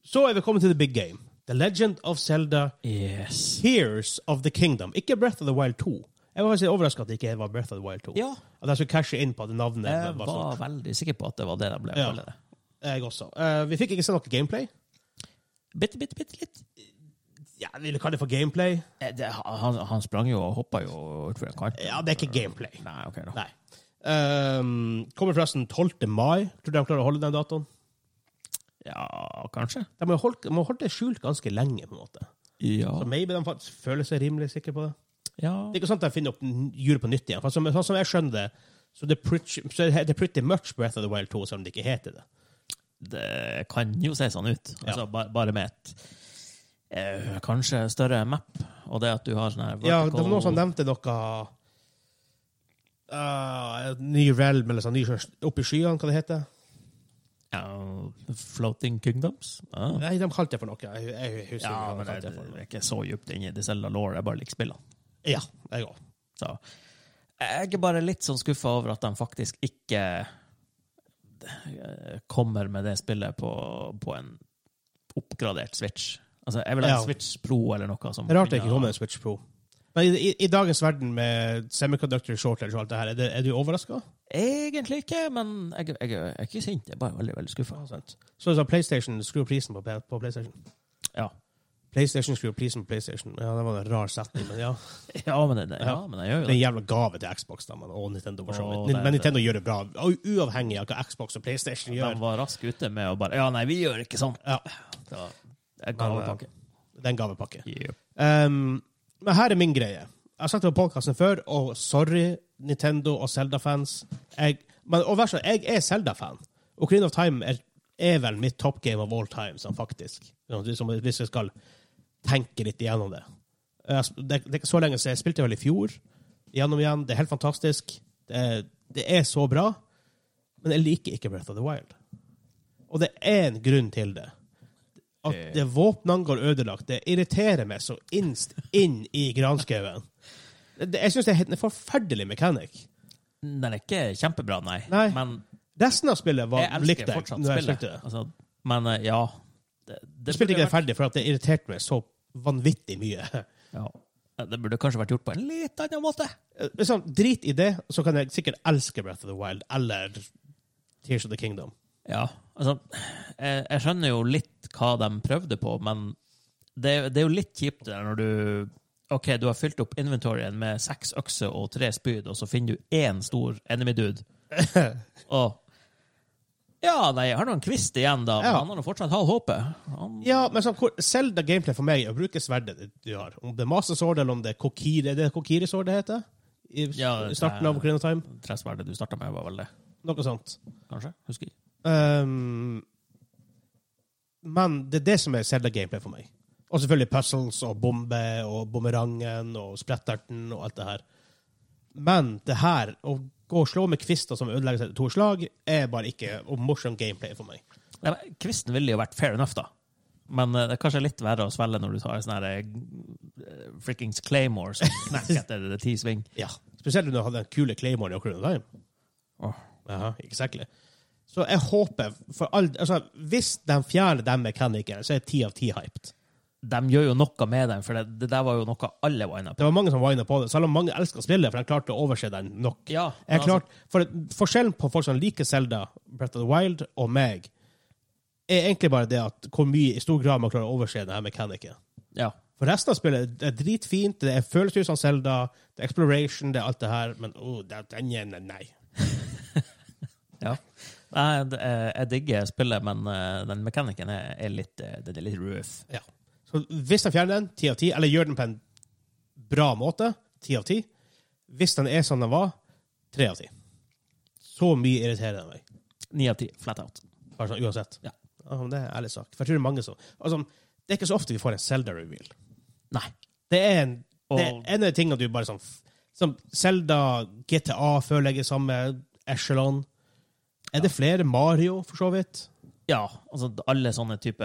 Speaker 1: Så er vi kommet til the big game. The Legend of Zelda
Speaker 2: Yes.
Speaker 1: Tears of the Kingdom. Ikke Breath of the Wild 2. Jeg var faktisk overraska at det ikke var Breath of the Wild 2.
Speaker 2: Ja, Eh,
Speaker 1: At jeg skulle cashe inn på at navnet.
Speaker 2: jeg
Speaker 1: var sånn.
Speaker 2: var veldig sikker på at det var det de ble.
Speaker 1: Ja.
Speaker 2: kaller det.
Speaker 1: Jeg også. Eh, vi fikk ikke se noe gameplay.
Speaker 2: Bitte, bitte, bitte litt.
Speaker 1: Ja, Vil du kalle det for gameplay?
Speaker 2: Eh, Det, han, han sprang jo og hoppa jo utfor en kant.
Speaker 1: Ja, det er ikke gameplay.
Speaker 2: Nei, ok da.
Speaker 1: Nei. Ehm, kommer forresten 12. mai. Tror du de klarer å holde den datoen?
Speaker 2: Ja, kanskje.
Speaker 1: De har holdt, de har holdt det skjult ganske lenge, på en måte.
Speaker 2: Ja.
Speaker 1: Så maybe de faktisk føler seg rimelig sikre på det.
Speaker 2: ja.
Speaker 1: Det er ikke sånn at de finner opp n- julet på nytt igjen. For som, sånn som jeg skjønner det, så det er pretty, så det heter pretty much Breath of the Wild 2, selv om det ikke heter det.
Speaker 2: Det kan jo se sånn ut. Altså,
Speaker 1: Ja.
Speaker 2: ba, bare med et eh, kanskje større map, og det at du har sånn her
Speaker 1: Ja, det var noen som nevnte noe uh, Ny realm, eller sånn ny sjø- opp i skyene, hva det heter.
Speaker 2: Ja, Floating Kingdoms? Ja.
Speaker 1: Nei, de kalte det for noe. Jeg, jeg husker
Speaker 2: Ja,
Speaker 1: ikke hva
Speaker 2: men
Speaker 1: de kalte
Speaker 2: jeg,
Speaker 1: det for.
Speaker 2: jeg er ikke så djupt inne i det selv av law, jeg bare liker spillene.
Speaker 1: Ja, jeg òg.
Speaker 2: Så jeg er bare litt sånn skuffa over at de faktisk ikke eh, kommer med det spillet på, på en oppgradert Switch. Altså, jeg vil ha en
Speaker 1: Ja.
Speaker 2: Switch Pro eller noe som
Speaker 1: Rart det ikke kom en Switch Pro. Men i, i, i dagens verden med semiconductor shortage og alt det her, er, det, er du overraska?
Speaker 2: Egentlig ikke, men jeg, jeg, jeg er ikke sint. Jeg er bare veldig, altså. veldig skuffa.
Speaker 1: Så, så PlayStation skrur prisen på, P- på PlayStation.
Speaker 2: Ja.
Speaker 1: PlayStation skrur prisen på PlayStation. Ja, det var en rar setning, men ja.
Speaker 2: Ja, men det, ja,
Speaker 1: Ja.
Speaker 2: men jeg
Speaker 1: Det
Speaker 2: gjør jo
Speaker 1: er
Speaker 2: det.
Speaker 1: en jævla gave til Xbox da, men, og Nintendo. For så
Speaker 2: Å,
Speaker 1: vidt.
Speaker 2: det-
Speaker 1: Men Nintendo gjør det bra, og uavhengig av hva Xbox og PlayStation
Speaker 2: De
Speaker 1: gjør.
Speaker 2: var raske ute med å bare Ja, nei, vi gjør ikke sånn.
Speaker 1: Ja.
Speaker 2: Så, jeg ga
Speaker 1: Men,
Speaker 2: en pakke.
Speaker 1: Det er en gavepakke.
Speaker 2: Yep.
Speaker 1: Um, men her er min greie. Jeg har sagt det på podkasten før, og sorry, Nintendo og Zelda-fans. Jeg, men og vær så, jeg er Zelda-fan. Ocarina of Time er, er vel mitt top game of all time, sånn faktisk. Sånn, Hvis hvis jeg skal tenke litt igjennom det. Jeg, sp- det, det er ikke så lenge siden. Jeg spilte vel i fjor. Igjennom igjen. Det er helt fantastisk. Det er, det er så bra. Men jeg liker ikke Breath of the Wild. Og det er en grunn til det. At
Speaker 2: Eh.
Speaker 1: det våpnene går ødelagt. Det irriterer meg så innst inn i granskauen. Det- det- Jeg syns det er helt en forferdelig mechanic.
Speaker 2: Den er ikke kjempebra, nei.
Speaker 1: Nei.
Speaker 2: Men
Speaker 1: Resten av spillet var,
Speaker 2: jeg
Speaker 1: likte
Speaker 2: elsker
Speaker 1: jeg.
Speaker 2: fortsatt
Speaker 1: når jeg
Speaker 2: spillet.
Speaker 1: spilte det.
Speaker 2: Altså, men eh, ja det, det
Speaker 1: Jeg spilte ikke
Speaker 2: burde
Speaker 1: det ferdig, for at det irriterte meg så vanvittig mye.
Speaker 2: vært- ja. Det burde kanskje vært gjort på en litt annen måte.
Speaker 1: Liksom, drit i det, så kan jeg sikkert elske Breath of the Wild eller Tears of the Kingdom.
Speaker 2: Ja, altså Jeg, jeg skjønner jo litt hva de prøvde på, men det, det er jo litt kjipt det der når du OK, du har fylt opp inventoryen med seks økser og tre spyd, og så finner du én stor enemy dude. og Ja, nei, jeg har nå en kvist igjen, da, men
Speaker 1: Ja.
Speaker 2: han har nå fortsatt halv håpet. Han,
Speaker 1: Ja, men sånn, hvor- Zelda gameplay for meg er å bruke sverdet du- du har. Om det er Master Sword eller om det er Kokiri, er det Kokiri Sword det heter? I s-
Speaker 2: Ja, det-
Speaker 1: starten av Ocarina of Time?
Speaker 2: Tresverdet du starta med, var vel det?
Speaker 1: Noe sånt.
Speaker 2: Kanskje? Husker ikke.
Speaker 1: Um, men det er det som er Zelda gameplay for meg. Og selvfølgelig puzzles og bombe og bumerangen og spretterten og alt det her. Men det her, å gå og slå med kvister som ødelegger seg til to slag, er bare ikke og morsom gameplay for meg.
Speaker 2: Nei, men Kvisten ville jo vært fair enough, da. Men eh, det er kanskje litt verre å svelge når du tar sånne her, eh, frikkings claymore som knekker etter det ti sving.
Speaker 1: Ja. Spesielt når du hadde den kule Claymoren i Ocarina of Time.
Speaker 2: Åh.
Speaker 1: Jaha, exactly. Så jeg håper for all, altså, Hvis de fjerner den mekanikeren, så er ti av ti hyped.
Speaker 2: De gjør jo noe med den, for det, det der var jo noe alle wina på.
Speaker 1: Det var mange som var inne på det, selv om mange elsker spillet, for de klarte å overse den nok.
Speaker 2: Ja, altså- men
Speaker 1: Jeg er klart, for Forskjellen på folk som liker Zelda, Breath of the Wild og meg, er egentlig bare det at hvor mye i stor grad man klarer å overse denne mekanikken.
Speaker 2: Altså, ja.
Speaker 1: For resten av spillet er dritfint. Det er følelser som Zelda, det er exploration, det er alt det her. Men oh, det- den ene, nei.
Speaker 2: Ja. Nei, det er- jeg digger spillet, men eh, den mekanikken er, er litt eh, Den er litt rough.
Speaker 1: Ja. Så hvis de fjerner den, 10 av 10, eller gjør den på en bra måte, 10 av 10 Hvis den er som den var, 3 av 10. Så mye irriterer den meg.
Speaker 2: Ni av ti, flat out.
Speaker 1: Bare sånn, uansett.
Speaker 2: Ja.
Speaker 1: men det er en ærlig sak. For jeg tror det er mange som altså, Det er ikke så ofte vi får en Zelda-reveal.
Speaker 2: Nei.
Speaker 1: Det er en det er
Speaker 2: Og-
Speaker 1: en av de tingene du bare sånn f- Som Zelda, GTA føler jeg er samme echelon. Er det flere? Mario, for så vidt.
Speaker 2: Ja, altså alle sånne type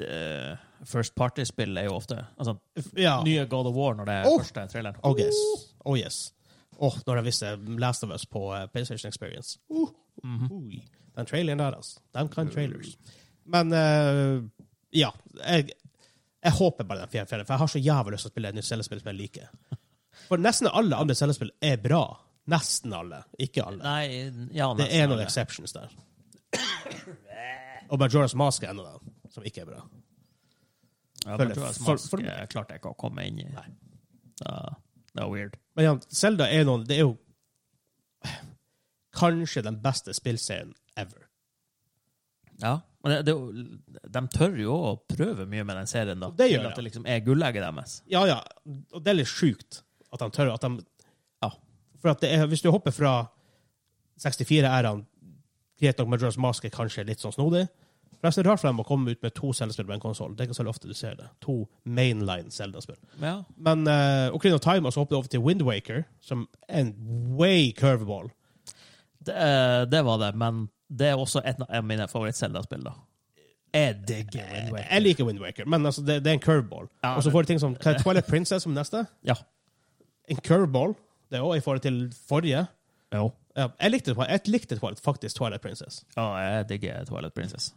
Speaker 2: eh, first party-spill er jo ofte altså,
Speaker 1: Ja.
Speaker 2: Nye God of War når det er
Speaker 1: Oh!
Speaker 2: første traileren.
Speaker 1: Oh yes. Oh yes. Åh, når jeg visste Last of Us på eh, PlayStation Experience. Uh,
Speaker 2: Mm-hmm.
Speaker 1: ui. Den traileren der, altså. De
Speaker 2: Mm.
Speaker 1: kan trailers. Men eh, ja. Jeg, jeg håper bare den fjerde fjerde, for jeg har så jævlig lyst til å spille et nytt cellespill som jeg liker. For nesten alle andre cellespill er bra. Nesten alle. Ikke alle.
Speaker 2: Nei, ja,
Speaker 1: det
Speaker 2: nesten
Speaker 1: er noen
Speaker 2: alle.
Speaker 1: exceptions der. Og Majora's Mask er en av dem som ikke er bra.
Speaker 2: Ja,
Speaker 1: føler-
Speaker 2: men tror jeg
Speaker 1: for-
Speaker 2: Mask,
Speaker 1: for-
Speaker 2: eh, klarte jeg ikke å komme inn i. Ja, det var weird.
Speaker 1: Men ja, Zelda er noen Det er jo kanskje den beste spillserien ever.
Speaker 2: Ja, men det, det, er jo- de tør jo å prøve mye med den serien, da.
Speaker 1: Det gjør
Speaker 2: Til
Speaker 1: jeg.
Speaker 2: At det liksom er gullegget deres.
Speaker 1: Ja, ja. Og det er litt sjukt at de tør at de,
Speaker 2: Ja.
Speaker 1: For at det er, hvis du hopper fra 64-æraen Greit nok, Majora's Mask er kanskje litt sånn snodig. Forresten, det er rart for dem å komme ut med to Zelda-spill på en konsoll. Det er ikke så ofte du ser det. To mainline Zelda-spill.
Speaker 2: ja.
Speaker 1: Men uh, Ocarina of Time, og så hoppet over til Wind Waker, som er en way curveball.
Speaker 2: Det, eh, det var det, men det er også et av mine favoritt-Selda-spill, da. Jeg digger Wind Waker.
Speaker 1: Eh, Jeg liker Wind Waker, men altså, det, det er en curveball.
Speaker 2: Ja,
Speaker 1: og så får du ting som hva er Twilight Princess som neste.
Speaker 2: Ja.
Speaker 1: En curveball. Det er også i forhold til forrige.
Speaker 2: Jo.
Speaker 1: Ja, jeg likte, Twi- jeg likte Twilight, faktisk Twilight Princess.
Speaker 2: Ja, jeg digger Twilight Princess.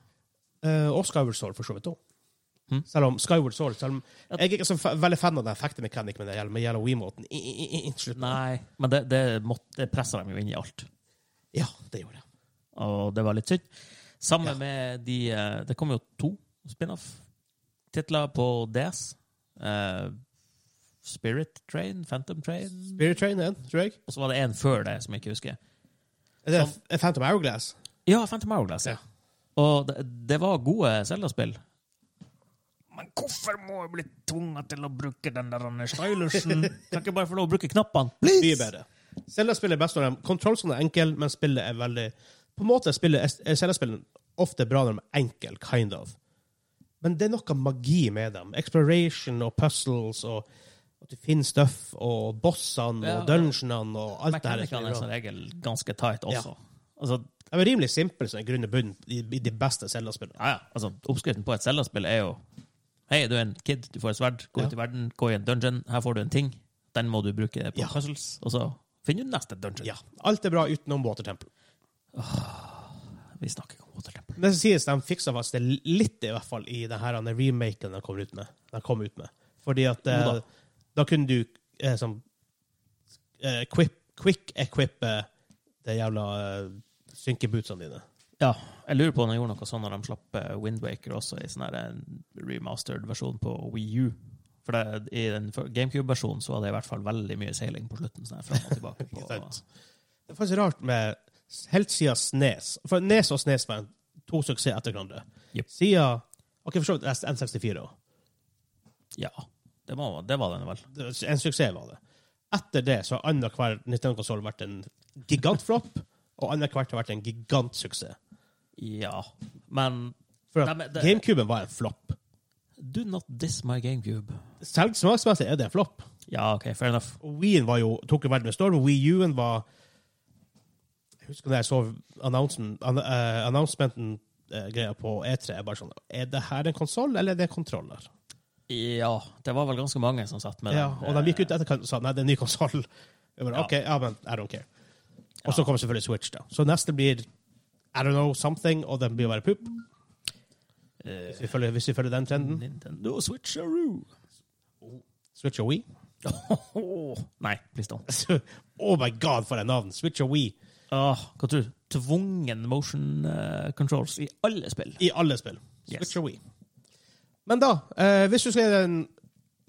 Speaker 1: Eh, og Skyward Sword, for så vidt òg.
Speaker 2: Mhm.
Speaker 1: Selv om Skyward Sword selv om, Jeg er ikke så fa- veldig fan av den effektemekanikken med det gjelder, med gjelder Wiimoten. I- i- i- i- slutt.
Speaker 2: Nei, men det, det, måtte, det pressa dem jo inn i alt,
Speaker 1: Ja, det gjorde jeg.
Speaker 2: og det var litt synd. Samme
Speaker 1: Ja.
Speaker 2: med de eh, Det kom jo to spin-off-titler på DS. Eh, Spirit Train, Phantom Train
Speaker 1: Spirit Train er en, tror jeg.
Speaker 2: Og så var det en før det som jeg ikke husker.
Speaker 1: Er det F- Phantom Hourglass?
Speaker 2: Ja, Phantom Hourglass. Ja.
Speaker 1: Ja.
Speaker 2: Og det, det var gode Zelda-spill. Men hvorfor må jeg bli tvunget til å bruke den der stylusen? kan ikke bare få lov å bruke knappene?
Speaker 1: Mye bedre. Zelda-spillet er best når de Kontrollsonen er enkel, men spillet er veldig På en måte spiller- er Zelda-spillene ofte bra når de er enkle, kind of. Men det er noe magi med dem. Exploration og puzzles og at du finner stuff og bossene
Speaker 2: Ja,
Speaker 1: og dungeonene og alt det her. er
Speaker 2: Mekanikerne sånn.
Speaker 1: spillet
Speaker 2: er
Speaker 1: bra.
Speaker 2: som regel ganske tight også. Altså,
Speaker 1: De er rimelig simple som i grunn og bunn i i de beste Zelda-spillene.
Speaker 2: ja, ja. altså, oppskriften på et Zelda-spill er jo Hei, du er en kid, du får et sverd, gå
Speaker 1: Ja.
Speaker 2: ut i verden, gå i en dungeon, her får du en ting. Den må du bruke på
Speaker 1: Ja.
Speaker 2: puzzles, og så finner du neste dungeon.
Speaker 1: Ja. Alt er bra utenom Water Temple.
Speaker 2: Vi snakker ikke om Water Temple.
Speaker 1: Men det som sies, de fiksa faktisk det litt, i hvert fall, i den her denne remaken de kom ut med. De kom ut med. Fordi at eh,
Speaker 2: Jo da.
Speaker 1: da. kunne du eh, som eh, quip, quick equippe de jævla eh, synkebootsene dine.
Speaker 2: Ja, jeg lurer på om de gjorde noe sånn når de slapp eh, Wind Waker også i sånn her en remastered versjon på Wii U. For det, I den før- GameCube-versjonen så var det i hvert fall veldig mye seiling på slutten. sånn her fram og tilbake.
Speaker 1: Ikke
Speaker 2: På,
Speaker 1: sant? Det er faktisk rart med helt siden Snes. For Nes og Snes var en- to suksess etter hverandre.
Speaker 2: Jep.
Speaker 1: Siden OK, for så vidt resten N64 òg.
Speaker 2: ja, det, må, det var den vel.
Speaker 1: En suksess var det. Etter det så har annenhver Nintendo-konsoll vært en gigantflopp, og annenhver har vært en gigantsuksess.
Speaker 2: Ja, men
Speaker 1: For
Speaker 2: Nei,
Speaker 1: at
Speaker 2: men det-
Speaker 1: GameCuben var en flopp.
Speaker 2: Do not diss my GameCube.
Speaker 1: Selv smaksmessig er det en flopp.
Speaker 2: Ja, OK, fair enough.
Speaker 1: Og Wien var jo, tok jo verden med storm. Wii U-en var Jeg husker da jeg så annonsen- an, eh, announcementen eh, greia på E3. Jeg bare sånn Er det her en konsoll, eller er det en kontroller?
Speaker 2: Ja, det var vel ganske mange som satt med
Speaker 1: Ja,
Speaker 2: den.
Speaker 1: og
Speaker 2: eh,
Speaker 1: de gikk ut etter og sa nei, det er en ny konsoll. Jeg bare,
Speaker 2: Ja.
Speaker 1: OK, ja, men I don't care. Og
Speaker 2: Ja.
Speaker 1: så kommer selvfølgelig Switch, da. Så neste blir I don't know, something, og den blir å være pupp.
Speaker 2: Eh,
Speaker 1: Hvis vi følger, hvis vi følger den trenden.
Speaker 2: Nintendo Switcheroo.
Speaker 1: Switch og Wii.
Speaker 2: Nei, please don't.
Speaker 1: oh my god, for et navn! Switch og Wii
Speaker 2: Ah, hva tror du? Tvungen motion eh, controls i alle spill.
Speaker 1: i alle spill. Switch
Speaker 2: Yes.
Speaker 1: og Wii. Men da, eh, hvis du skal gi den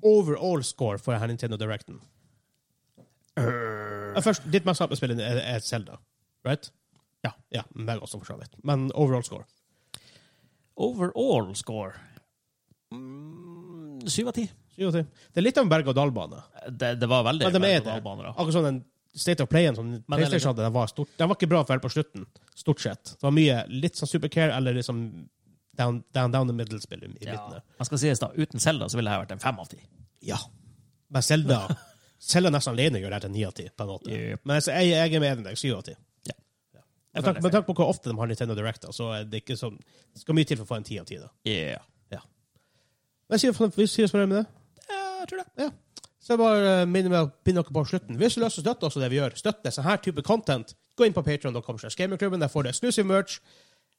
Speaker 1: overall score for her Nintendo Directen?
Speaker 2: Øh.
Speaker 1: Ja, Først, ditt mest kjappe spill er er Zelda, right?
Speaker 2: Ja.
Speaker 1: Ja, meg også, for så vidt. Men overall score.
Speaker 2: Overall score mm, Syv av ti.
Speaker 1: Syv av ti. Det er litt av en berg-og-dal-bane.
Speaker 2: Det, det var veldig
Speaker 1: Men de er det.
Speaker 2: veldig bra baner, da.
Speaker 1: Akkurat sånn den State of Playen som
Speaker 2: Men det er
Speaker 1: PlayStation hadde, den var, stort, den var ikke bra før på slutten. Stort sett. Det var mye litt sånn supercare eller liksom down, down, down the middle-spill i
Speaker 2: Ja.
Speaker 1: midten der.
Speaker 2: Man skal sies da, Uten Selda ville det her vært en fem av ti.
Speaker 1: Ja. Men Selda Selda nesten alene gjør det her til ni av ti, på en måte.
Speaker 2: Yep.
Speaker 1: Men altså, jeg, jeg er med deg. Syv av ti.
Speaker 2: Jeg
Speaker 1: Med tanke-
Speaker 2: føler det
Speaker 1: med
Speaker 2: er
Speaker 1: tanke på hvor ofte de har Nintendo Directa, så er det ikke sånn Det skal mye til for å få en ti av ti, da.
Speaker 2: fair. Yeah.
Speaker 1: Men jeg sier, vi sier oss fornøyd med det.
Speaker 2: Jeg tror det.
Speaker 1: Så jeg bare eh, minner meg å pinne dere på slutten. Hvis du har lyst til å støtte oss og det vi gjør, støtte sånn her type content, gå inn på patreon.com slash gamingklubben. Der får du eksklusiv merch,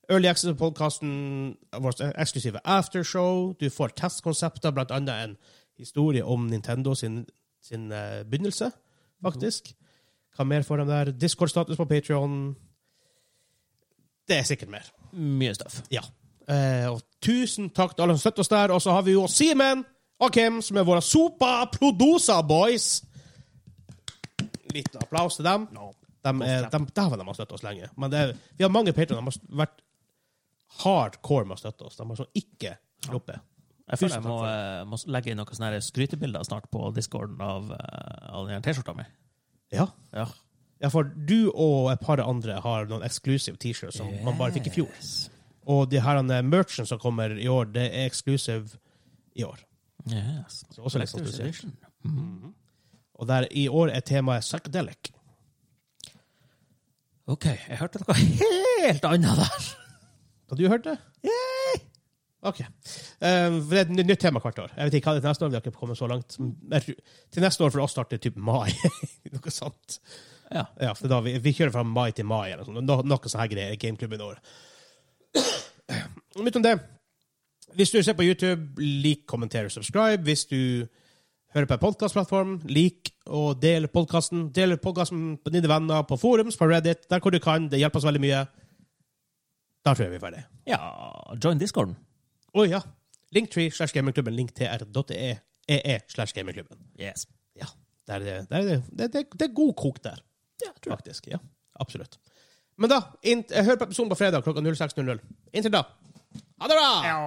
Speaker 1: early access til podkasten, vårt eksklusive aftershow, du får testkonsepter, blant annet en historie om Nintendo sin, sin eh, begynnelse, faktisk. Hva mer får de der? Discord-status på Patreon. Det er sikkert mer.
Speaker 2: Mye støff.
Speaker 1: Ja. Eh, og tusen takk til alle som støtter oss der. Og så har vi jo Simen og Kim, som er våre Sopa-producer-boys. Liten applaus til dem. De er, de, Dæven, de har støttet oss lenge. Men det er, vi har mange patrioner. De har vært hardcore med å støtte oss. De har sånn ikke sluppet.
Speaker 2: Jeg føler
Speaker 1: Tusen
Speaker 2: jeg må,
Speaker 1: takk for
Speaker 2: eh, må legge inn noen sånne her skrytebilder snart på discorden av, eh, av den her T-skjorta mi.
Speaker 1: Ja.
Speaker 2: Ja.
Speaker 1: ja, for du og et par andre har noen exclusive T-shirts som man bare fikk i fjor.
Speaker 2: Yes.
Speaker 1: Og de her eh, merchen som kommer i år, det er exclusive i år.
Speaker 2: Yes.
Speaker 1: Så også litt
Speaker 2: Collector's
Speaker 1: spesielt.
Speaker 2: edition.
Speaker 1: Og der i år er temaet psychedelic.
Speaker 2: OK, jeg hørte noe helt annet der.
Speaker 1: Har du hørt det? OK. Eh, for det er et nytt tema hvert år. Jeg vet ikke hva det er til neste år. Vi har ikke kommet så langt. Men jeg tror- Til neste år for oss starter typ mai. noe sånt.
Speaker 2: Ja.
Speaker 1: Ja, for da vi, vi kjører fra mai til mai, eller sånn. noe sånt. No, noe sånne her greier i Gameklubben i år. Litt om det. Hvis du ser på YouTube, lik, kommenter og subscribe. Hvis du hører på en podcastplattform, lik og del podcasten. Del podcasten på dine venner, på forums, på Reddit, der hvor du kan. Det hjelper oss veldig mye. Da tror jeg vi er ferdige.
Speaker 2: ja. Join discorden.
Speaker 1: Å ja. Linktree slash gamingklubben. Linktr.ee e, slash gamingklubben.
Speaker 2: Yes.
Speaker 1: Ja. Der er det, der er det, det, det, det er god kok der,
Speaker 2: Ja, jeg tror det.
Speaker 1: faktisk. Ja, absolutt. Men da, inn, hør på episoden på fredag klokka 06.00. Inntil da, ha det bra!
Speaker 2: Ja.